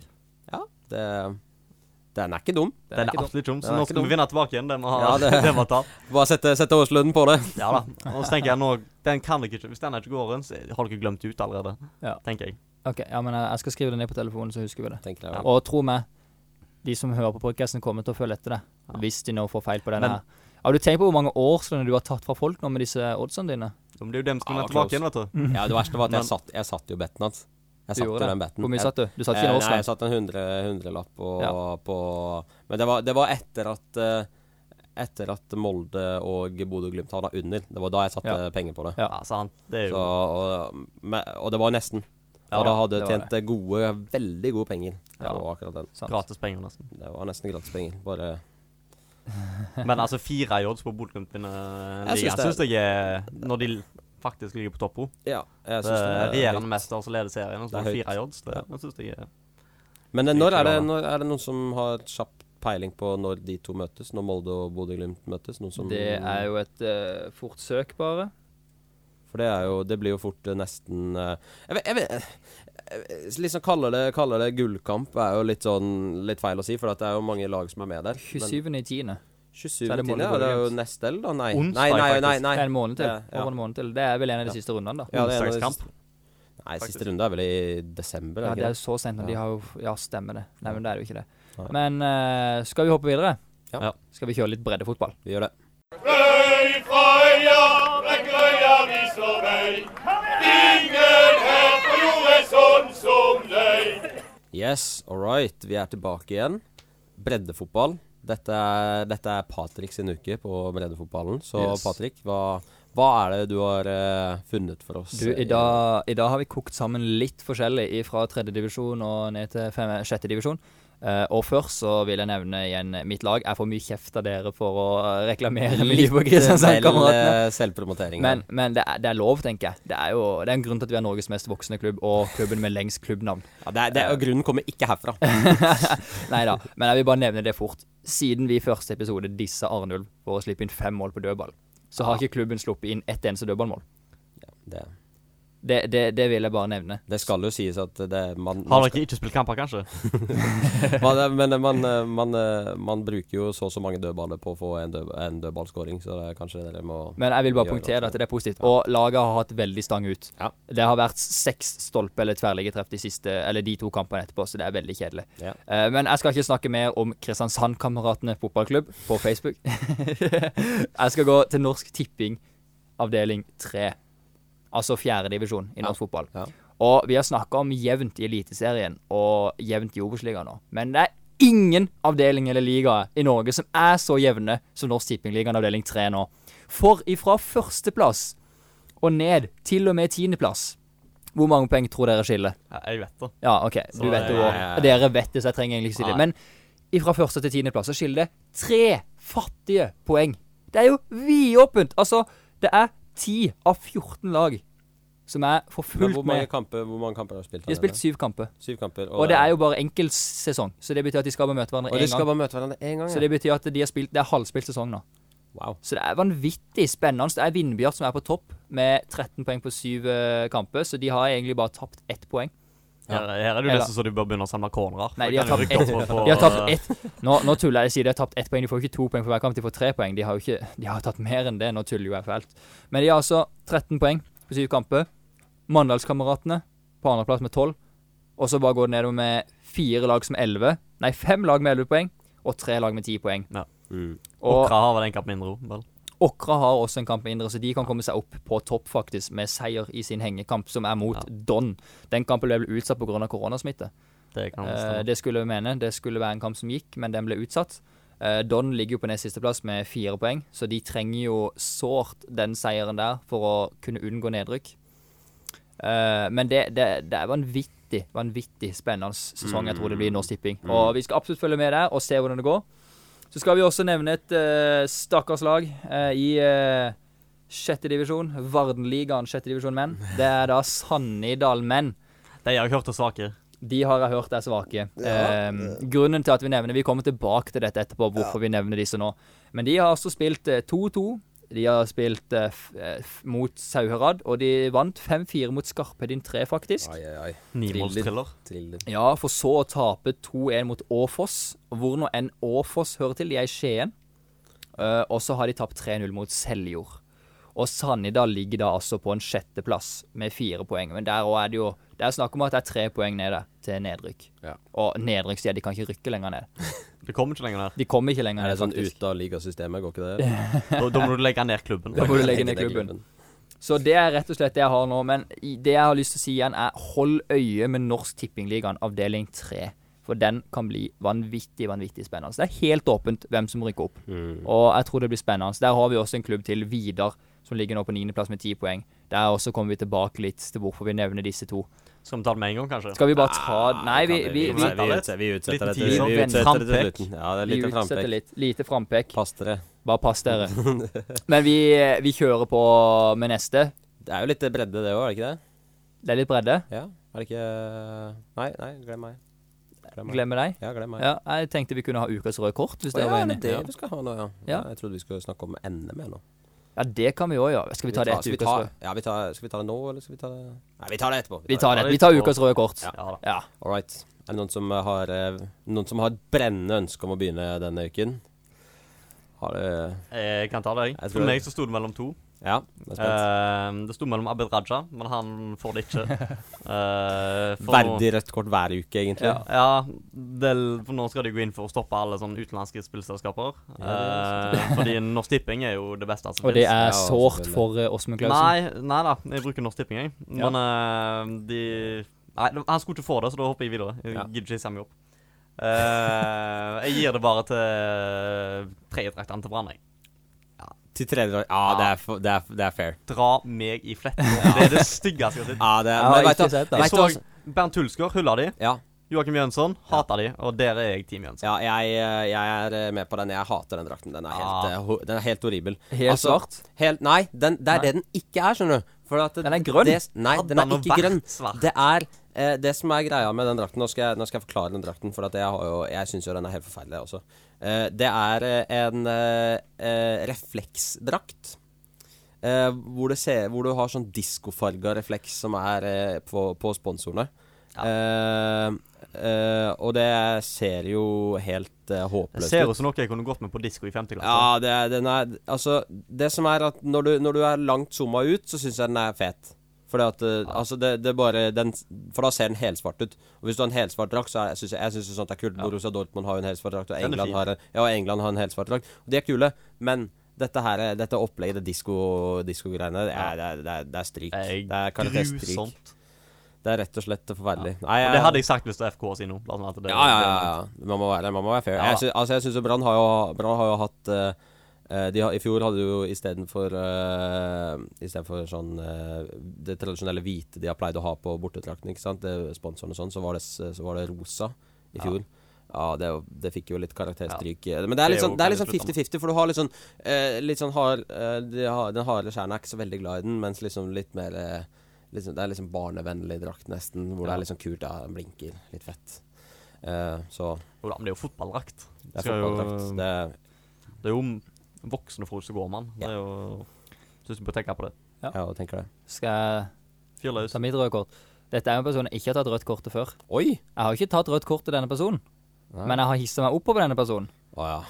[SPEAKER 1] Ja, det Den er ikke dum.
[SPEAKER 5] Den er
[SPEAKER 6] Den er
[SPEAKER 5] ikke dum.
[SPEAKER 6] absolutt dum, så
[SPEAKER 1] Den er
[SPEAKER 6] nå
[SPEAKER 1] ikke
[SPEAKER 6] skal
[SPEAKER 1] dum.
[SPEAKER 6] vi vinne tilbake igjen. Det vi har,
[SPEAKER 1] Ja, det-
[SPEAKER 6] *laughs* det vi har tapt.
[SPEAKER 1] Bare sette, sette årslunden på det.
[SPEAKER 6] Ja da. Og så tenker jeg nå, den kan dere ikke. Hvis den ikke går inn, så har dere glemt ut allerede.
[SPEAKER 5] Ja.
[SPEAKER 6] Tenker jeg.
[SPEAKER 5] Ok, ja, men eh, jeg jeg skal skrive det ned på telefonen, så husker vi det.
[SPEAKER 1] Tenker jeg.
[SPEAKER 6] Ja.
[SPEAKER 1] også.
[SPEAKER 5] Og tro meg, de som hører på podkasten, kommer til å følge etter det.
[SPEAKER 6] Ja.
[SPEAKER 5] Hvis de nå får feil på denne
[SPEAKER 6] Men-
[SPEAKER 5] her. Har du tenkt på hvor mange årslønner du har tatt fra folk nå med disse oddsene dine?
[SPEAKER 6] Men det er jo dem som
[SPEAKER 1] Ja,
[SPEAKER 6] skal vinne tilbake
[SPEAKER 1] close.
[SPEAKER 6] igjen, vet du.
[SPEAKER 1] Ja, det verste var at
[SPEAKER 6] Men-
[SPEAKER 1] jeg satt, jeg satt jo betten hans. Jeg
[SPEAKER 5] Du
[SPEAKER 1] satt jo
[SPEAKER 5] gjorde det.
[SPEAKER 1] den betten.
[SPEAKER 5] Hvor mye
[SPEAKER 1] Jeg-
[SPEAKER 5] satt du? Du satt
[SPEAKER 1] Eh,
[SPEAKER 5] ikke en
[SPEAKER 1] Nei, jeg
[SPEAKER 5] årslønn?
[SPEAKER 1] satt en hundre- hundrelapp og,
[SPEAKER 5] Ja.
[SPEAKER 1] på Men det var, det var etter at eh, Etter at Molde og Bodø-Glimt havna under. Det var da jeg satte
[SPEAKER 5] Ja.
[SPEAKER 1] penger på det.
[SPEAKER 5] Ja.
[SPEAKER 6] Ja, sant. Det er
[SPEAKER 1] Så,
[SPEAKER 6] jo
[SPEAKER 1] og, men- og det var nesten.
[SPEAKER 5] Ja,
[SPEAKER 1] og da hadde
[SPEAKER 5] det
[SPEAKER 1] jeg
[SPEAKER 5] var
[SPEAKER 1] tjent gode, veldig gode penger. Ja. Det var akkurat den.
[SPEAKER 5] Sant.
[SPEAKER 6] gratis penger, nesten.
[SPEAKER 1] Det var nesten gratispenger. Bare
[SPEAKER 6] Men altså, fire i odds på Bodø-Glimt vinner
[SPEAKER 1] Jeg synes
[SPEAKER 6] ligaen,
[SPEAKER 1] det er-
[SPEAKER 6] syns jeg er Når de faktisk ligger på topp òg.
[SPEAKER 1] Ja. Jeg synes det er
[SPEAKER 6] Regjerende
[SPEAKER 1] høyt.
[SPEAKER 6] mester som leder serien, og så
[SPEAKER 1] Det er
[SPEAKER 6] får de
[SPEAKER 1] høyt.
[SPEAKER 6] fire i odds. Det, det synes jeg er
[SPEAKER 1] Men eh, når
[SPEAKER 6] Ikke
[SPEAKER 1] er, det,
[SPEAKER 6] bra, da.
[SPEAKER 1] når er det noen som har kjapp peiling på når de to møtes? Når Molde og Bodø-Glimt møtes? Noen som
[SPEAKER 5] Det er jo et eh, fort søk, bare.
[SPEAKER 1] For det er jo Det blir jo fort eh, nesten eh, Jeg vet, jeg vet eh, Liksom kaller det, kaller det gullkamp er jo litt sånn Litt feil å si, for at det er jo mange lag som er med der.
[SPEAKER 5] 27. i 10.
[SPEAKER 1] 27
[SPEAKER 5] Så er det
[SPEAKER 1] tiende,
[SPEAKER 5] Molde
[SPEAKER 1] ja, det er jo
[SPEAKER 5] Bodø-Glimt.
[SPEAKER 1] neste eller da? Nei.
[SPEAKER 6] Onsdag,
[SPEAKER 1] nei, nei, nei,
[SPEAKER 6] faktisk.
[SPEAKER 1] nei.
[SPEAKER 5] Det er en måned til.
[SPEAKER 1] Ja, ja.
[SPEAKER 5] Over en måned til. Det er vel en av de siste rundene, da.
[SPEAKER 1] Ja, det er en av de
[SPEAKER 6] Onsdagskamp.
[SPEAKER 1] siste- Nei, siste
[SPEAKER 6] Faktisk.
[SPEAKER 1] runde er vel i desember?
[SPEAKER 5] Ja,
[SPEAKER 1] er
[SPEAKER 5] det
[SPEAKER 1] det
[SPEAKER 5] er
[SPEAKER 1] ikke
[SPEAKER 5] jo så sent, og de
[SPEAKER 1] Ja.
[SPEAKER 5] har jo Ja, stemmer det. Nei, men det er jo ikke det.
[SPEAKER 1] Nei.
[SPEAKER 5] Men eh, skal vi hoppe videre?
[SPEAKER 1] Ja.
[SPEAKER 6] Ja.
[SPEAKER 5] Skal vi kjøre litt breddefotball?
[SPEAKER 1] det? Vi gjør det. Yes, all right. Vi er tilbake igjen. Breddefotball. Dette er, dette er Patrick sin uke på breddefotballen. Så
[SPEAKER 5] Yes.
[SPEAKER 1] Patrick, hva, hva er det du har eh, funnet for oss?
[SPEAKER 5] Du, i dag, i dag har vi kokt sammen litt forskjellig fra tredjedivisjon og ned til fem- sjettedivisjon. Uh, og først så vil jeg nevne igjen mitt lag. Jeg får mye kjeft av dere for å eh, reklamere mye for Kristiansand-kameratene.
[SPEAKER 1] Vel, eh, selvpromotering.
[SPEAKER 5] Men, men det, er, det er lov, tenker jeg. Det er jo det er en grunn til at vi er Norges mest voksende klubb, og klubben med lengst klubbnavn.
[SPEAKER 1] ja, det er, det er, og grunnen kommer ikke herfra.
[SPEAKER 5] *laughs* Nei da, men jeg vil bare nevne det fort. Siden vi i første episode dissa Arnulf for å slippe inn fem mål på dødball, så har ikke klubben sluppet inn ett eneste dødballmål.
[SPEAKER 1] Det,
[SPEAKER 5] Det, det, det vil jeg bare nevne.
[SPEAKER 1] det skal jo sies at det man,
[SPEAKER 6] Har
[SPEAKER 1] man,
[SPEAKER 6] dere ikke spilt kamper, kanskje?
[SPEAKER 1] man, Men man, eh, man, eh, man bruker jo så og så mange dødballer på å få en, død, en dødballskåring, så det er kanskje dere må
[SPEAKER 5] Men jeg vil bare
[SPEAKER 1] Gjør
[SPEAKER 5] punktere
[SPEAKER 1] det.
[SPEAKER 5] at det er positivt. Og laget har hatt veldig stang ut.
[SPEAKER 1] Ja.
[SPEAKER 5] Det har vært seks stolpe- eller tverrliggetreff de, siste- eller de to kampene etterpå, så det er veldig kjedelig.
[SPEAKER 1] Ja.
[SPEAKER 5] Eh, men jeg skal ikke snakke mer om Kristiansandkameratene fotballklubb på Facebook. *laughs* jeg skal gå til Norsk Tipping avdeling 3, altså fjerdedivisjon i norsk fotball.
[SPEAKER 1] Ja.
[SPEAKER 5] Og vi har snakka om jevnt i Eliteserien og jevnt i Obos-ligaen nå. Men det er ingen avdeling eller liga i Norge som er så jevne som Norsk Tippingligaen avdeling 3 nå. For ifra førsteplass og ned, til og med tiendeplass, hvor mange poeng tror dere skiller?
[SPEAKER 6] Ja, jeg vet det.
[SPEAKER 5] Ja, OK, du
[SPEAKER 6] Så
[SPEAKER 5] vet det
[SPEAKER 6] det-
[SPEAKER 5] jo også. Dere vet det, så jeg trenger egentlig ikke si det.
[SPEAKER 1] Nei.
[SPEAKER 5] Men ifra første til tiendeplass så skiller det tre fattige poeng. Det er jo vidåpent! Altså, det er 10 av 14 lag som er for
[SPEAKER 1] Men
[SPEAKER 5] fullt
[SPEAKER 1] hvor mange,
[SPEAKER 5] med.
[SPEAKER 1] kamper, hvor mange kamper har du spilt?
[SPEAKER 5] De har spilt syv kamper.
[SPEAKER 1] syv kamper.
[SPEAKER 5] Og det er jo bare enkeltsesong, så det betyr at de skal bare møte hverandre
[SPEAKER 1] og
[SPEAKER 5] én
[SPEAKER 1] de skal
[SPEAKER 5] gang.
[SPEAKER 1] bare møte hverandre én gang.
[SPEAKER 5] Så
[SPEAKER 1] Ja.
[SPEAKER 5] det betyr at de har spilt, det er halvspilt sesong nå.
[SPEAKER 1] Wow.
[SPEAKER 5] Så det er vanvittig spennende. Det er Vindbjart som er på topp med 13 poeng på syv eh, kamper, så de har egentlig bare tapt ett poeng.
[SPEAKER 6] Her, her er det jo
[SPEAKER 5] Eller-
[SPEAKER 6] nesten så du bør begynne å samle cornerer.
[SPEAKER 5] Nei,
[SPEAKER 6] Da
[SPEAKER 5] de har
[SPEAKER 6] kan
[SPEAKER 5] tapt
[SPEAKER 6] rykke
[SPEAKER 5] ett.
[SPEAKER 6] opp på-
[SPEAKER 5] De har tapt ett. Nå, nå tuller jeg, jeg sier de har tapt ett poeng. De får ikke to poeng for hver kamp, de får tre poeng. De har jo ikke, de har tatt mer enn det. Nå tuller jo jeg fælt. Men de har altså 13 poeng på syv kamper. Mandalskameratene på andreplass med 12. Og så bare går det nedover med fire lag som 11. Nei, fem lag med 11 poeng, og tre lag med 10 poeng. Og
[SPEAKER 6] Åkra har vel en kamp mindre òg, vel.
[SPEAKER 5] Åkra har også en kamp mindre, så de kan komme seg opp på topp faktisk med seier i sin hengekamp, som er mot Don. Den kampen ble vel utsatt pga. koronasmitte.
[SPEAKER 6] Det kan
[SPEAKER 5] Eh,
[SPEAKER 6] stemme.
[SPEAKER 5] det skulle vi mene. Det skulle være en kamp som gikk, men den ble utsatt. Eh, Don ligger jo på nest sisteplass med fire poeng, så de trenger jo sårt den seieren der for å kunne unngå nedrykk. Eh, men det, det, det er vanvittig, vanvittig spennende sesong jeg tror det blir i Norsk Tipping. Og vi skal absolutt følge med der og se hvordan det går. Så skal vi også nevne et eh, stakkars lag eh, i eh, Sjette divisjon. Vardenligaen, sjette divisjon menn. Det er da Sannidal menn.
[SPEAKER 6] De har jeg hørt er svake.
[SPEAKER 5] De har jeg hørt er svake.
[SPEAKER 4] Ja,
[SPEAKER 5] Ehm, grunnen til at vi nevner Vi kommer tilbake til dette etterpå, hvorfor vi nevner disse nå. Men de har altså spilt eh, 2-2. De har spilt eh, f eh, f mot Sauherad, og de vant 5-4 mot Skarpedin 3, faktisk.
[SPEAKER 1] Ai, ai, ai.
[SPEAKER 6] Nimålstriller.
[SPEAKER 1] Thriller.
[SPEAKER 5] Ja, for så å tape 2-1 mot Åfoss, hvor nå enn Åfoss hører til. De er i Skien. Eh, og så har de tapt 3-0 mot Seljord. Og Sannidal ligger da altså på en sjetteplass med fire poeng. Men der òg er det jo Det er snakk om at det er tre poeng nede til nedrykk.
[SPEAKER 1] Ja.
[SPEAKER 5] Og nedrykk sier de kan ikke rykke lenger ned.
[SPEAKER 6] Det kommer ikke lenger ned.
[SPEAKER 5] De kommer ikke lenger
[SPEAKER 1] Er det
[SPEAKER 5] ned,
[SPEAKER 1] sånn
[SPEAKER 5] faktisk.
[SPEAKER 1] ute av ligasystemet, går ikke
[SPEAKER 5] *laughs*
[SPEAKER 1] det?
[SPEAKER 6] Da, da må du legge ned klubben.
[SPEAKER 5] Da må du legge ned klubben. Så det er rett og slett det jeg har nå. Men i- det jeg har lyst til å si igjen, er hold øye med Norsk Tippingligaen avdeling 3. For den kan bli vanvittig vanvittig spennende. Det er helt åpent hvem som rykker opp.
[SPEAKER 1] Mm.
[SPEAKER 5] Og jeg tror det blir spennende. Der har vi også en klubb til, Vidar, som ligger nå på niendeplass med ti poeng. Der også kommer vi tilbake litt til hvorfor vi nevner disse to.
[SPEAKER 6] Skal vi ta det med en gang, kanskje?
[SPEAKER 5] Skal vi bare ta
[SPEAKER 1] Ah,
[SPEAKER 5] Nei, vi, vi,
[SPEAKER 1] vi,
[SPEAKER 5] vi,
[SPEAKER 6] vi-
[SPEAKER 1] utsetter, vi utsetter det til
[SPEAKER 6] Liten
[SPEAKER 1] vi
[SPEAKER 5] teaser.
[SPEAKER 1] utsetter det til
[SPEAKER 6] Frampek.
[SPEAKER 1] slutten. Ja, det er
[SPEAKER 5] vi
[SPEAKER 1] litt en
[SPEAKER 5] utsetter
[SPEAKER 1] frampek.
[SPEAKER 5] litt. Lite frampek.
[SPEAKER 1] Pass dere.
[SPEAKER 5] Bare pass
[SPEAKER 1] *laughs*
[SPEAKER 5] dere. Men vi, vi kjører på med neste.
[SPEAKER 1] Det er jo litt bredde, det òg, er det ikke det?
[SPEAKER 5] Det er litt bredde.
[SPEAKER 1] Ja? Er det ikke Nei, nei, glem meg. Glem meg.
[SPEAKER 5] Glemmer deg.
[SPEAKER 1] Ja, glem meg.
[SPEAKER 5] Ja, jeg tenkte vi kunne ha ukas røde kort, hvis
[SPEAKER 1] Å,
[SPEAKER 5] dere
[SPEAKER 1] ja,
[SPEAKER 5] var
[SPEAKER 1] er det
[SPEAKER 5] enig.
[SPEAKER 1] det
[SPEAKER 5] Ja.
[SPEAKER 1] vi skal ha nå, ja.
[SPEAKER 5] Ja.
[SPEAKER 1] Jeg trodde vi skulle snakke om NM igjen nå.
[SPEAKER 5] ja, det kan vi òg gjøre. Skal vi ta det
[SPEAKER 1] tar-
[SPEAKER 5] etter
[SPEAKER 1] skal vi
[SPEAKER 5] ukas
[SPEAKER 1] ta-
[SPEAKER 5] røde?
[SPEAKER 1] Ja, vi tar, skal vi ta det nå, eller skal vi ta det Nei, vi tar det etterpå.
[SPEAKER 5] Vi tar det.
[SPEAKER 6] det
[SPEAKER 5] Vi tar
[SPEAKER 6] etterpå.
[SPEAKER 5] ukas røde kort.
[SPEAKER 6] Ja, da.
[SPEAKER 5] Ja.
[SPEAKER 1] All right. Er det noen som eh, har eh, Noen som har et brennende ønske om å begynne denne uken? Har det
[SPEAKER 6] Jeg Eh, kan ta det, jeg.
[SPEAKER 1] Jeg tror
[SPEAKER 6] For
[SPEAKER 1] det.
[SPEAKER 6] meg så sto det mellom to.
[SPEAKER 1] Ja, det er spent.
[SPEAKER 6] Eh, det sto mellom Abid Raja, men han får det
[SPEAKER 1] *laughs*
[SPEAKER 6] ikke. Eh, for nå-
[SPEAKER 1] Verdig rødt kort hver uke, egentlig.
[SPEAKER 5] Ja.
[SPEAKER 6] Ja, del, for nå skal de gå inn for å stoppe alle sånne utenlandske spillselskaper.
[SPEAKER 1] Ja,
[SPEAKER 6] Eh, fordi Norsk Tipping er jo det beste som
[SPEAKER 5] Og det
[SPEAKER 6] finnes.
[SPEAKER 1] Ja,
[SPEAKER 5] er sårt
[SPEAKER 1] selvfølgelig.
[SPEAKER 5] for eh, Åsmund Klausen.
[SPEAKER 6] Nei, nei da, jeg bruker Norsk Tipping, jeg.
[SPEAKER 5] Ja.
[SPEAKER 6] Men eh, de Nei, de- han skulle ikke få det, så da hopper jeg videre. Jeg
[SPEAKER 1] Ja.
[SPEAKER 6] gidder ikke hisse meg opp. Eh, jeg gir det bare til tredjedraktene til Brann, jeg.
[SPEAKER 1] Til tredje år. Ja, det er, f- det, er, det er fair.
[SPEAKER 6] Dra meg i fletten. Det er det styggeste jeg har sett.
[SPEAKER 1] *laughs* Ja, det er,
[SPEAKER 5] Jeg har
[SPEAKER 1] men vet
[SPEAKER 5] ikke
[SPEAKER 1] du-
[SPEAKER 5] sett det.
[SPEAKER 1] vet
[SPEAKER 6] Jeg
[SPEAKER 1] du
[SPEAKER 6] så
[SPEAKER 1] hva-
[SPEAKER 6] Bernt Hulsker hylla de.
[SPEAKER 1] Ja,
[SPEAKER 6] Joakim Jønsson hata de, og der er jeg Team Jønsson.
[SPEAKER 1] ja jeg, eh, jeg er eh, med på den. Jeg hater den drakten. Den er helt,
[SPEAKER 6] Ah.
[SPEAKER 1] eh, ho- den er helt horribel. Altså,
[SPEAKER 5] Helt svart?
[SPEAKER 1] Helt, nei, den, det er det den ikke er, skjønner du. For at det-
[SPEAKER 5] Den er grønn.
[SPEAKER 1] Det, nei,
[SPEAKER 6] Hadde
[SPEAKER 1] den er
[SPEAKER 6] den
[SPEAKER 1] ikke
[SPEAKER 6] vært
[SPEAKER 1] grønn.
[SPEAKER 6] svart?
[SPEAKER 1] Det er eh, det som er greia med den drakten. Nå skal jeg, nå skal jeg forklare den drakten, for at jeg, har jo, jeg syns jo den er helt forferdelig også. Eh, det er eh, en eh, eh, refleksdrakt. eh, hvor, det ser, hvor du har sånn diskofarga refleks som er eh, på, på sponsorene. Eh, eh, og det ser jo helt eh,
[SPEAKER 6] Det
[SPEAKER 1] håpløst
[SPEAKER 6] ser ut som noe jeg kunne gått med på disko i 50 klasse.
[SPEAKER 1] ja, det er, den er Altså, det som er at når du, når du er langt zooma ut, så syns jeg den er fet. Fordi at eh, Altså, det, det er bare den For da ser den helsvart ut. Og hvis du har en helsvart drakt, så er- jeg syns jeg, jeg synes jo sånt er kult. Borussia Dortmund har jo en helsvart drakt, og
[SPEAKER 6] er
[SPEAKER 1] England
[SPEAKER 6] fin.
[SPEAKER 1] har, en- ja, og England har en helsvart drakt. Og de er kule, men dette her, er- dette opplegget, det disko- disko-greiene, det, er- det, er- det, er- det er stryk.
[SPEAKER 6] Det er
[SPEAKER 1] Det er karakterstryk.
[SPEAKER 6] grusomt.
[SPEAKER 1] Det er rett og slett forferdelig. Nei,
[SPEAKER 6] Og det hadde jeg sagt hvis det var FK sin nå. blant annet, at det-
[SPEAKER 1] ja, ja, ja, ja. Man må være, man må være fair.
[SPEAKER 6] Ja.
[SPEAKER 1] Jeg sy altså, jeg syns jo Brann har jo, Brann har jo hatt eh, eh, de har, I fjor hadde de jo istedenfor uh, Istedenfor sånn eh, Det tradisjonelle hvite de har pleid å ha på bortedrakten, ikke sant? Det, sponsoren og sånn, så, var det s- så var det rosa i fjor. Ja. det, det fikk jo litt karakterstryk. Men det er
[SPEAKER 6] Det
[SPEAKER 1] litt
[SPEAKER 6] er
[SPEAKER 1] sånn
[SPEAKER 6] jo
[SPEAKER 1] det er litt
[SPEAKER 6] veldig
[SPEAKER 1] sånn 50-50, for du har litt sånn, eh, litt sånn hard eh, de har, Den harde kjernen er ikke så veldig glad i den, mens liksom litt mer eh, liksom, Det er liksom barnevennlig drakt, nesten, hvor det er litt sånn kult. Ja, den blinker. Litt fett. Eh, så
[SPEAKER 6] Jo da, men det er jo fotballdrakt.
[SPEAKER 1] det er
[SPEAKER 6] Skal jo-
[SPEAKER 1] fotballdrakt. Det er
[SPEAKER 6] Det er jo voksne folk som går med den. Det
[SPEAKER 1] Ja.
[SPEAKER 6] er jo Syns du bør tenke på det.
[SPEAKER 1] Ja, jeg tenker det.
[SPEAKER 5] Skal
[SPEAKER 6] Fyr
[SPEAKER 5] jeg
[SPEAKER 6] løs.
[SPEAKER 5] ta mitt røde kort? Dette er jo en person jeg ikke har tatt rødt kort til før.
[SPEAKER 1] Oi!
[SPEAKER 5] Jeg har ikke tatt rødt kort til denne personen, men jeg har hissa meg opp over denne personen.
[SPEAKER 1] Å ja.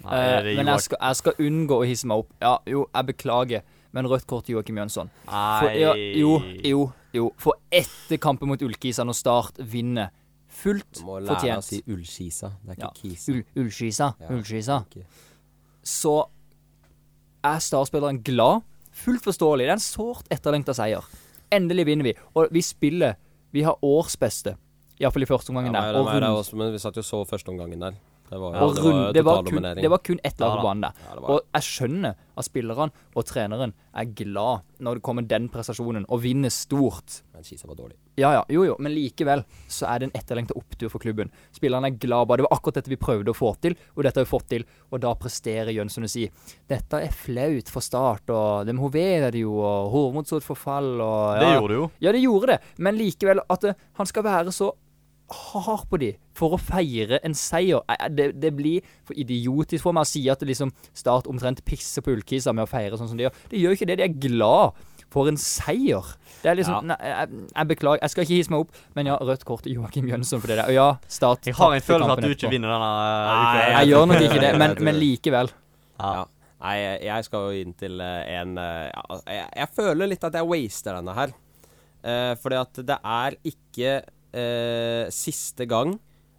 [SPEAKER 6] Nei,
[SPEAKER 5] Eh,
[SPEAKER 6] det er
[SPEAKER 5] men
[SPEAKER 6] Joak-
[SPEAKER 5] jeg skal, jeg skal unngå å hisse meg opp. Ja, jo, jeg beklager, men rødt kort til Joakim Jønsson. For,
[SPEAKER 6] Nei.
[SPEAKER 5] ja, jo, jo, jo. For etter kampen mot Ulkisa, når Start vinner fullt
[SPEAKER 1] Du må lære deg å
[SPEAKER 5] fortjent
[SPEAKER 1] si ullskisa. Det er ikke
[SPEAKER 5] Ja.
[SPEAKER 1] kisa.
[SPEAKER 5] Ull, Ullskisa,
[SPEAKER 1] Ja.
[SPEAKER 5] Ullskisa.
[SPEAKER 1] Ikke-
[SPEAKER 5] Så er Star-spilleren glad. Fullt forståelig. Det er en sårt etterlengta seier. Endelig vinner vi. Og vi spiller Vi har årsbeste. Iallfall i første omgang.
[SPEAKER 1] Ja,
[SPEAKER 5] der.
[SPEAKER 1] meg-
[SPEAKER 5] Og
[SPEAKER 1] meg er det
[SPEAKER 5] rundt-
[SPEAKER 1] også, men vi satt jo så første omgangen der. Det var,
[SPEAKER 5] og
[SPEAKER 1] det var
[SPEAKER 5] runde, det, var kun,
[SPEAKER 1] totaldominering.
[SPEAKER 5] det var kun ett lag på
[SPEAKER 6] Ja da.
[SPEAKER 5] banen der.
[SPEAKER 1] Ja, det var-
[SPEAKER 5] Og jeg skjønner at spillerne og treneren er glad når det kommer den prestasjonen, og vinner stort.
[SPEAKER 1] Men Kisa var dårlig.
[SPEAKER 5] Ja, ja, jo, jo, men likevel så er det en etterlengta opptur for klubben. Spillerne er glad bare. Det var akkurat dette vi prøvde å få til, og dette har vi fått til. Og da presterer Jønsson å si dette er flaut for Start, og de hoverer jo, og Hormod så et forfall, og
[SPEAKER 6] Det
[SPEAKER 5] ja.
[SPEAKER 6] gjorde det jo.
[SPEAKER 5] Ja, det gjorde det, men likevel at eh, han skal være så hard på de for å feire en seier. Eh, eh, Det, det blir for idiotisk for meg å si at det liksom Start omtrent pisser på Ullkisa med å feire sånn som de gjør. De gjør jo ikke det, de er glad for en seier. Det er liksom Nei, jeg, jeg beklager, jeg skal ikke hisse meg opp, men ja, rødt kort til Joakim Jønsson for det der. Og ja, Start
[SPEAKER 6] Jeg har en
[SPEAKER 5] tapte
[SPEAKER 6] følelse at
[SPEAKER 5] kampen
[SPEAKER 6] du ikke
[SPEAKER 5] etterpå.
[SPEAKER 6] vinner denne. eh,
[SPEAKER 1] Nei,
[SPEAKER 6] uka.
[SPEAKER 5] Jeg gjør nok ikke det,
[SPEAKER 1] Jeg
[SPEAKER 5] men,
[SPEAKER 1] tror
[SPEAKER 5] men
[SPEAKER 1] det.
[SPEAKER 5] likevel.
[SPEAKER 1] Ja. Nei, jeg- jeg skal jo inn til eh, en eh, ja, altså, jeg, jeg føler litt at jeg waster denne her. Eh, fordi at det er ikke eh, siste gang,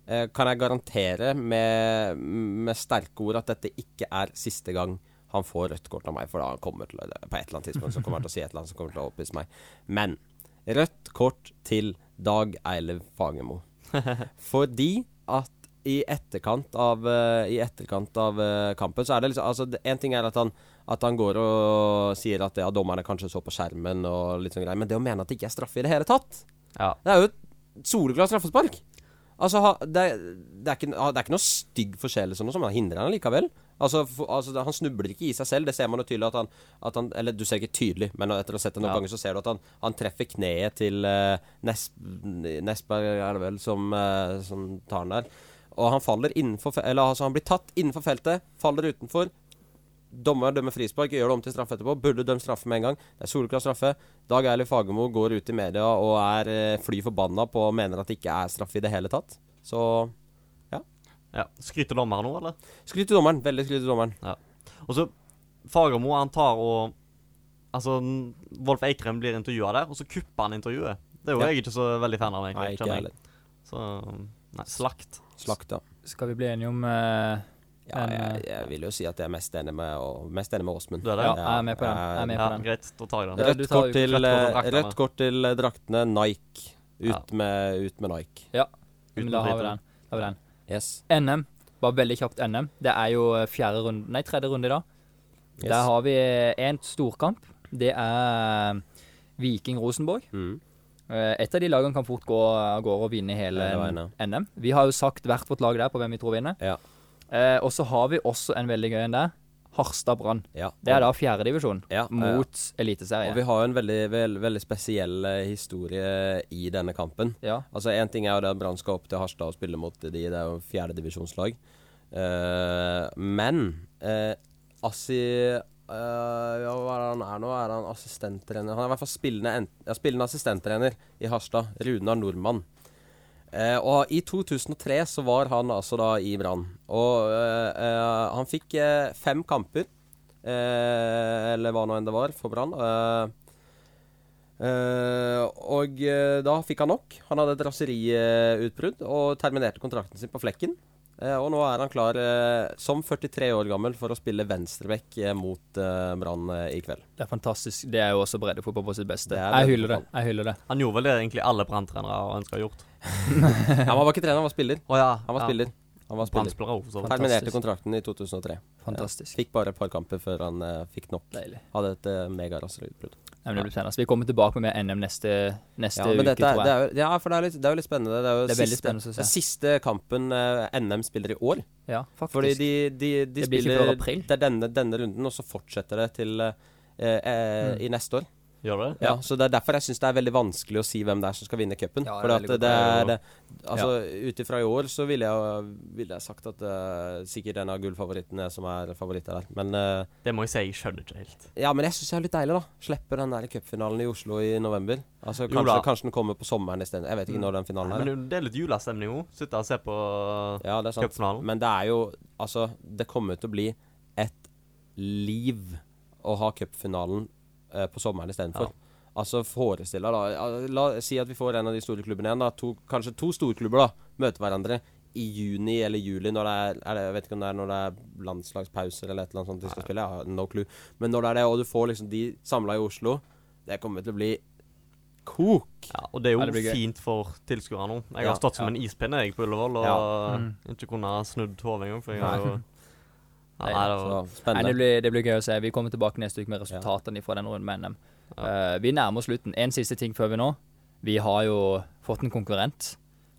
[SPEAKER 1] eh, kan jeg garantere med, med sterke ord, at dette ikke er siste gang han får rødt kort av meg. For da han kommer til, å- på et eller annet tidspunkt så kommer han til å si et eller annet som kommer til å oppvise meg. Men rødt kort til Dag Eilev Fagermo. Fordi at i etterkant av, eh, i etterkant av eh, kampen, så er det liksom altså, det- En ting er at han, at han går og sier at ja, dommerne kanskje så på skjermen, og litt sånn greier, men det å mene at det ikke er straffe i det hele tatt
[SPEAKER 6] Ja.
[SPEAKER 1] Det er jo et soleklart straffespark! Altså, ha, det, det, er ikke, ha- det er ikke noe stygg forseelse, eller noe sånt, men han hindrer han likevel. Altså, for, altså, det- han snubler ikke i seg selv, det ser man jo tydelig at han, at han Eller du ser ikke tydelig, men etter å ha sett det noen
[SPEAKER 6] Ja.
[SPEAKER 1] ganger, så ser du at han, han treffer kneet til eh, Nes, Nesberg, er det vel, som, eh, som tar den der. Og han faller innenfor fe- Eller altså, han blir tatt innenfor feltet, faller utenfor. Dommer dømmer frispark, gjør det om til straffe etterpå. Burde dømt straffe med en gang. Det er soleklar straffe. Dag Eilif Fagermo går ut i media og er eh, fly forbanna på og mener at det ikke er straffe i det hele tatt. Så
[SPEAKER 6] Ja. Skryter dommeren nå, eller?
[SPEAKER 1] skryt til dommeren. Veldig skryt til dommeren.
[SPEAKER 6] Og så Fagermo, han tar og Altså, n- Wolf Eikrem blir intervjua der, og så kupper han intervjuet. Det er jo
[SPEAKER 1] Ja.
[SPEAKER 6] jeg ikke så veldig fan av, egentlig.
[SPEAKER 1] Nei, ikke
[SPEAKER 6] kjenner
[SPEAKER 1] jeg
[SPEAKER 6] jeg.
[SPEAKER 1] heller.
[SPEAKER 6] Så Nei, slakt.
[SPEAKER 1] Slakt, ja.
[SPEAKER 5] Skal vi bli enige om eh,
[SPEAKER 1] Ja,
[SPEAKER 5] Men,
[SPEAKER 1] jeg,
[SPEAKER 5] eh,
[SPEAKER 1] jeg vil jo si at jeg er mest enig med, og, mest enig med Åsmund. Eh,
[SPEAKER 6] Du er det?
[SPEAKER 5] Ja, jeg er med på den. Jeg er med
[SPEAKER 6] Ja,
[SPEAKER 5] på den.
[SPEAKER 6] greit. Da tar jeg den.
[SPEAKER 5] Ja, du
[SPEAKER 1] Rødt
[SPEAKER 5] tar
[SPEAKER 1] kort,
[SPEAKER 5] jo
[SPEAKER 1] til,
[SPEAKER 6] rødt kort til
[SPEAKER 1] eh,
[SPEAKER 6] draktene.
[SPEAKER 1] rødt kort til eh, draktene. Nike. Ut,
[SPEAKER 6] Ja.
[SPEAKER 1] med, ut med Nike.
[SPEAKER 5] Men da har vi
[SPEAKER 6] Uten
[SPEAKER 5] den. Da har vi den.
[SPEAKER 1] Yes.
[SPEAKER 5] NM. Bare veldig kjapt NM. Det er jo eh, fjerde runde, nei, tredje runde i dag.
[SPEAKER 1] yes.
[SPEAKER 5] Der har vi eh, en storkamp. Det er Viking-Rosenborg.
[SPEAKER 1] Mm.
[SPEAKER 5] Eh, Et av de lagene kan fort gå av gårde og vinne hele
[SPEAKER 1] Hele veien,
[SPEAKER 5] NM. Vi har jo sagt hvert vårt lag der på hvem vi tror vinner.
[SPEAKER 1] Ja.
[SPEAKER 5] Eh, Og så har vi også en veldig gøy en der. Harstad Brann.
[SPEAKER 1] Ja.
[SPEAKER 5] Det er da fjerdedivisjon
[SPEAKER 1] Ja, ja.
[SPEAKER 5] mot
[SPEAKER 1] Og
[SPEAKER 5] Eliteserie.
[SPEAKER 1] vi har jo en veldig, veld, veldig spesiell eh, historie i denne kampen.
[SPEAKER 5] Ja.
[SPEAKER 1] Altså Én ting er jo det at Brann skal opp til Harstad og spille mot de, det er jo fjerdedivisjonslag. Uh, men eh, Assi eh, ja, Hva er det han er nå? Er han assistenttrener? Han er i hvert fall spillende, en, ja, spillende assistenttrener i Harstad. Runar Nordmann. Eh, og i 2003 så var han altså da i Brann. Og eh, eh, han fikk eh, fem kamper, eh, eller hva nå enn det var, for Brann. Eh, Eh, og eh, da fikk han nok. Han hadde et raseriutbrudd eh, og terminerte kontrakten sin på flekken. Eh, og nå er han klar eh, som 43 år gammel for å spille venstreback eh, mot eh, Brann eh, i
[SPEAKER 5] *laughs*
[SPEAKER 1] kveld.
[SPEAKER 5] Det er fantastisk. Det er jo også breddefotball på sitt beste.
[SPEAKER 1] Det er
[SPEAKER 5] Jeg hyller det.
[SPEAKER 1] breddefotball.
[SPEAKER 5] Jeg hyller det.
[SPEAKER 6] Han gjorde vel det egentlig alle Brann-trenere ønsker å ha gjort.
[SPEAKER 1] Nei, men han var ikke trener, han var spiller.
[SPEAKER 6] Å ja.
[SPEAKER 1] Han var
[SPEAKER 6] ja.
[SPEAKER 1] spiller. Han var spiller.
[SPEAKER 6] Brannspillere også, for så vidt.
[SPEAKER 5] Fantastisk.
[SPEAKER 1] Terminerte kontrakten i 2003.
[SPEAKER 5] Fantastisk.
[SPEAKER 1] Fikk bare et par kamper før han eh, fikk nok.
[SPEAKER 5] Deilig.
[SPEAKER 1] Hadde et eh, megaraseriutbrudd.
[SPEAKER 5] Nei, men det blir spennende. Så Vi kommer tilbake med NM neste, neste
[SPEAKER 1] Ja, men
[SPEAKER 5] uke,
[SPEAKER 1] dette er,
[SPEAKER 5] tror
[SPEAKER 1] det
[SPEAKER 5] jeg.
[SPEAKER 1] er jo, ja, for det er, litt, det er jo litt spennende. Det er jo
[SPEAKER 5] Det er veldig
[SPEAKER 1] siste,
[SPEAKER 5] spennende å se.
[SPEAKER 1] det er siste kampen eh, NM spiller i år.
[SPEAKER 5] ja, faktisk.
[SPEAKER 1] Fordi de, de, de
[SPEAKER 5] Det blir ikke
[SPEAKER 1] spiller
[SPEAKER 5] før april.
[SPEAKER 1] Det er denne, denne runden, og så fortsetter det til eh, eh,
[SPEAKER 5] Mm.
[SPEAKER 1] i neste år.
[SPEAKER 6] Gjør du det?
[SPEAKER 1] Ja, Så det er derfor jeg syns det er veldig vanskelig å si hvem det er som skal vinne cupen.
[SPEAKER 5] Ja, det er
[SPEAKER 1] Fordi
[SPEAKER 5] veldig
[SPEAKER 1] at
[SPEAKER 5] godt.
[SPEAKER 1] det er
[SPEAKER 6] Ja,
[SPEAKER 1] det, Altså ut ifra i år så ville jeg, ville jeg sagt at eh, sikkert en av gullfavorittene som er favoritter der. Men eh,
[SPEAKER 6] Det må jeg si, jeg skjønner ikke helt.
[SPEAKER 1] ja, men jeg syns det er litt deilig, da. Slippe den der cupfinalen i Oslo i november. Altså
[SPEAKER 6] Jo
[SPEAKER 1] kanskje,
[SPEAKER 6] da.
[SPEAKER 1] kanskje den kommer på sommeren isteden. Jeg vet
[SPEAKER 5] Mm.
[SPEAKER 1] ikke når den finalen er.
[SPEAKER 6] Men det er litt julestemning òg. Sitte og se på
[SPEAKER 1] Ja, det er sant.
[SPEAKER 6] cupfinalen.
[SPEAKER 1] Men det er jo Altså, det kommer til å bli et liv å ha cupfinalen eh, på sommeren istedenfor. Altså, forestill deg da al- La oss si at vi får en av de store klubbene igjen. da to, Kanskje to storklubber da møter hverandre i juni eller juli. Når det er, er det, Jeg vet ikke om det er når det er landslagspauser eller et eller annet sånt de skal spille. Ja, no clue. Men når det er det, og du får liksom de samla i Oslo Det kommer til å bli kok.
[SPEAKER 6] Ja, og det er jo
[SPEAKER 5] Ja, det blir gøy.
[SPEAKER 6] fint for tilskuerne òg. Jeg
[SPEAKER 1] Ja,
[SPEAKER 6] har stått som
[SPEAKER 5] ja.
[SPEAKER 6] en ispinne jeg på Ullevål og
[SPEAKER 5] Ja. Mm.
[SPEAKER 6] ikke kunne ha snudd hodet engang. For jeg har jo
[SPEAKER 5] Nei,
[SPEAKER 6] Nei, det
[SPEAKER 1] Så
[SPEAKER 6] var
[SPEAKER 5] Nei, det,
[SPEAKER 1] spennende.
[SPEAKER 5] blir, det blir gøy å se. Vi kommer tilbake neste uke med resultatene fra den runden med NM. Eh, vi nærmer oss slutten. En siste ting før vi nå. Vi har jo fått en konkurrent.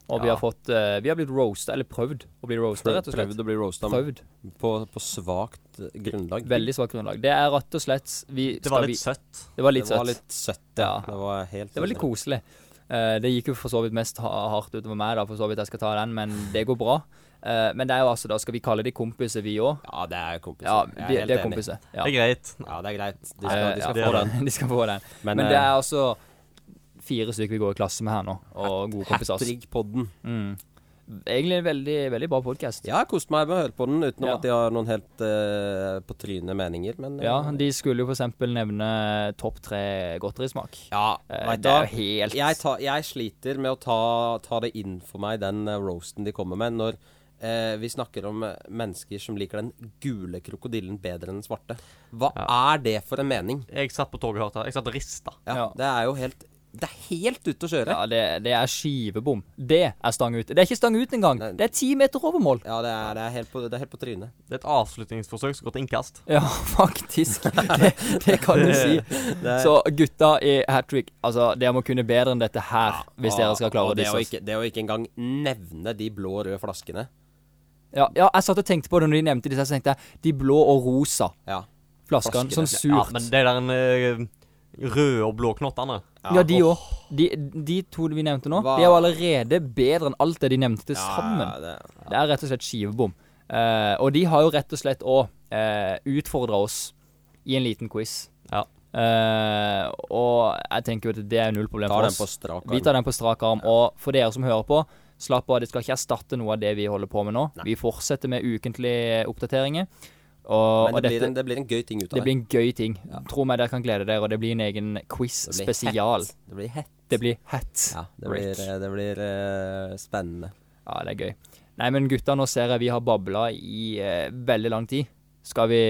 [SPEAKER 5] Og vi
[SPEAKER 1] Ja.
[SPEAKER 5] har fått eh, Vi har blitt roasta, eller prøvd å bli roasta, rett og slett.
[SPEAKER 1] Prøvd å bli roasta men
[SPEAKER 5] Prøvd.
[SPEAKER 1] på, på svakt eh, grunnlag.
[SPEAKER 5] Veldig svakt grunnlag. Det er rett og slett vi,
[SPEAKER 6] Det var
[SPEAKER 5] skal
[SPEAKER 6] litt søtt.
[SPEAKER 5] Vi, det var
[SPEAKER 1] sånn. Det
[SPEAKER 5] litt
[SPEAKER 1] var
[SPEAKER 5] søtt.
[SPEAKER 1] litt søtt, ja.
[SPEAKER 5] Ja.
[SPEAKER 1] Det var helt
[SPEAKER 5] Det var litt
[SPEAKER 1] enig.
[SPEAKER 5] koselig. Eh, det gikk jo for så vidt mest ha hardt utover meg, da, for så vidt jeg skal ta den, men det går bra. Eh, men det er jo altså, da skal vi kalle de kompiser, vi òg.
[SPEAKER 1] Ja, det er kompiser.
[SPEAKER 5] Ja,
[SPEAKER 1] Jeg
[SPEAKER 5] de,
[SPEAKER 1] helt
[SPEAKER 5] de er
[SPEAKER 1] enig.
[SPEAKER 5] kompiser. Ja. Eh,
[SPEAKER 6] Det er greit.
[SPEAKER 1] Ja, det er greit. De skal, de skal
[SPEAKER 6] ja.
[SPEAKER 1] få
[SPEAKER 6] Det er
[SPEAKER 1] den.
[SPEAKER 5] *laughs* de skal få den.
[SPEAKER 1] Men, eh,
[SPEAKER 5] Men, det er altså fire stykker vi går i klasse med her nå, og gode kompiser.
[SPEAKER 1] Hattrigg-podden.
[SPEAKER 5] Mm. Egentlig en veldig, veldig bra podkast.
[SPEAKER 1] Ja, jeg har kost meg med å høre på den, utenom
[SPEAKER 5] Ja.
[SPEAKER 1] at de har noen helt eh, på trynet meninger, men eh,
[SPEAKER 5] Ja, de skulle jo for eksempel nevne topp tre godterismak.
[SPEAKER 1] ja
[SPEAKER 5] Eh,
[SPEAKER 1] vet du
[SPEAKER 5] det
[SPEAKER 1] hva?
[SPEAKER 5] er jo helt
[SPEAKER 1] Jeg, tar- jeg sliter med å ta, ta det inn for meg, den eh, roasten de kommer med, når eh, vi snakker om eh, mennesker som liker den gule krokodillen bedre enn den svarte. Hva er det for en mening?
[SPEAKER 6] Jeg satt på toget og hørte. Jeg satt og rista.
[SPEAKER 1] Ja,
[SPEAKER 5] Ja.
[SPEAKER 1] Det er jo helt Det er helt ute å kjøre.
[SPEAKER 5] Ja, det, det er skivebom. Det er stang ut. Det er ikke stang ut engang.
[SPEAKER 1] Nei.
[SPEAKER 5] Det er ti meter over mål.
[SPEAKER 1] Ja, det, er, det, er helt på, det er helt på trynet.
[SPEAKER 6] Det er et avslutningsforsøk som går til innkast.
[SPEAKER 5] Ja, *laughs* faktisk. Det, det kan du si. Så gutta i hat trick, altså dere må kunne bedre enn dette her hvis dere skal klare
[SPEAKER 1] Og
[SPEAKER 5] å
[SPEAKER 1] det
[SPEAKER 5] disse
[SPEAKER 1] å
[SPEAKER 5] oss.
[SPEAKER 1] ikke, det å ikke engang nevne de blå og røde flaskene.
[SPEAKER 5] Ja, ja, jeg satt og tenkte på det når de nevnte disse, så tenkte jeg de blå og rosa
[SPEAKER 1] Ja.
[SPEAKER 5] flaskene.
[SPEAKER 1] Flaskene.
[SPEAKER 5] Sånn
[SPEAKER 6] Ja,
[SPEAKER 5] surt.
[SPEAKER 6] men de der eh, røde og blå knottene
[SPEAKER 5] Ja, de òg. De, de to vi nevnte nå,
[SPEAKER 1] Hva-
[SPEAKER 5] de er jo allerede bedre enn alt det de nevnte til
[SPEAKER 1] Ja,
[SPEAKER 5] sammen.
[SPEAKER 1] ja, det-
[SPEAKER 5] Det er rett og slett skivebom. Eh, og de har jo rett og slett òg uh, utfordra oss i en liten quiz.
[SPEAKER 6] Ja.
[SPEAKER 5] Eh, og jeg tenker jo at det er null problem
[SPEAKER 1] Ta
[SPEAKER 5] for
[SPEAKER 1] den
[SPEAKER 5] oss.
[SPEAKER 1] på strak arm.
[SPEAKER 5] Vi tar den på strak arm. Og for dere som hører på, slapp av, det skal ikke erstatte noe av det vi holder på med nå. Vi fortsetter med ukentlige oppdateringer. Og,
[SPEAKER 1] Men
[SPEAKER 5] og
[SPEAKER 1] det blir,
[SPEAKER 5] dette
[SPEAKER 1] en, det blir en gøy ting ut av
[SPEAKER 5] det blir en gøy ting. Tro meg, dere kan glede dere, og det blir en egen quiz
[SPEAKER 1] Det blir
[SPEAKER 5] spesial.
[SPEAKER 1] hett. Det blir hett.
[SPEAKER 5] Det blir hett.
[SPEAKER 1] Ja, det
[SPEAKER 5] Rick.
[SPEAKER 1] blir, eh, det blir eh, spennende.
[SPEAKER 5] Ja, det er gøy. Nei, men gutta, nå ser jeg vi har babla i eh, veldig lang tid. Skal vi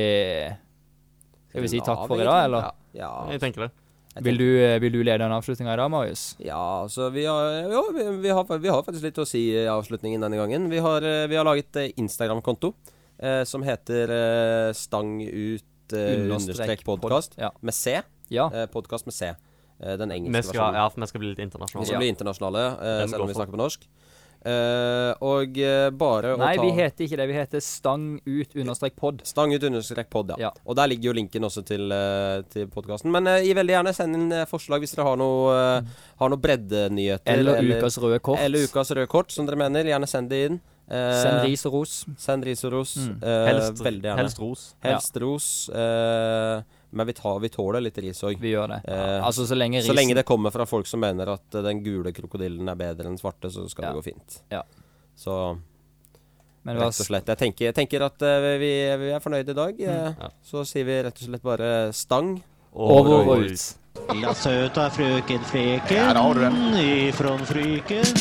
[SPEAKER 5] Skal vi si takk for i dag, eller?
[SPEAKER 1] Ja.
[SPEAKER 6] Jeg tenker det.
[SPEAKER 1] jeg
[SPEAKER 5] Vil du, eh, vil du lede den avslutninga i dag, Marius?
[SPEAKER 1] Ja, så vi har, jo, vi, vi, har, vi har faktisk litt å si i avslutningen denne gangen. Vi har, eh, vi har laget eh, Instagram-konto eh, som heter eh, Stang ut eh, understrek podkast
[SPEAKER 5] Ja. Ah.
[SPEAKER 1] med C.
[SPEAKER 5] ja.
[SPEAKER 1] Eh, podkast med C. Eh, den
[SPEAKER 6] Vi
[SPEAKER 1] engelske
[SPEAKER 6] skal,
[SPEAKER 1] versjonen.
[SPEAKER 6] ja, vi skal bli litt
[SPEAKER 1] Vi
[SPEAKER 6] internasjonale.
[SPEAKER 1] skal bli internasjonale, eh,
[SPEAKER 6] Den
[SPEAKER 1] selv om
[SPEAKER 6] går
[SPEAKER 1] vi
[SPEAKER 6] for.
[SPEAKER 1] snakker på norsk. Eh, og eh, bare å
[SPEAKER 5] Nei,
[SPEAKER 1] ta
[SPEAKER 5] vi heter ikke det. Vi heter Stang ut understrek pod.
[SPEAKER 1] Stang ut understrek pod, ja.
[SPEAKER 5] Ja.
[SPEAKER 1] Og der ligger jo linken også til, eh, til podkasten. Men eh, gi veldig gjerne send inn eh, forslag hvis dere har noe, eh, har noe breddenyheter.
[SPEAKER 5] Eller Ukas røde kort.
[SPEAKER 1] Eller ukas røde kort, som dere mener. Gjerne send det inn. Eh,
[SPEAKER 5] Send ris og ros.
[SPEAKER 1] send ris og ros.
[SPEAKER 5] Mm.
[SPEAKER 1] Eh,
[SPEAKER 6] Helst,
[SPEAKER 1] veldig gjerne. Helst,
[SPEAKER 6] helst ros.
[SPEAKER 1] ros. Eh, men vi, tar, vi tåler litt ris òg.
[SPEAKER 5] Vi gjør det.
[SPEAKER 1] Eh,
[SPEAKER 5] altså, så lenge risen
[SPEAKER 1] Så lenge det kommer fra folk som mener at eh, den gule krokodillen er bedre enn den svarte, så skal
[SPEAKER 5] Ja.
[SPEAKER 1] det gå fint.
[SPEAKER 5] Ja.
[SPEAKER 1] Så
[SPEAKER 5] Men vær
[SPEAKER 1] rett og
[SPEAKER 5] s- Mm.
[SPEAKER 1] slett. Jeg tenker, jeg tenker at eh, vi, vi er fornøyde i dag. eh,
[SPEAKER 6] Ja.
[SPEAKER 1] Så sier vi rett og slett bare stang.
[SPEAKER 5] over og ut.
[SPEAKER 3] La søta frøken Fleken ifrån Fryken.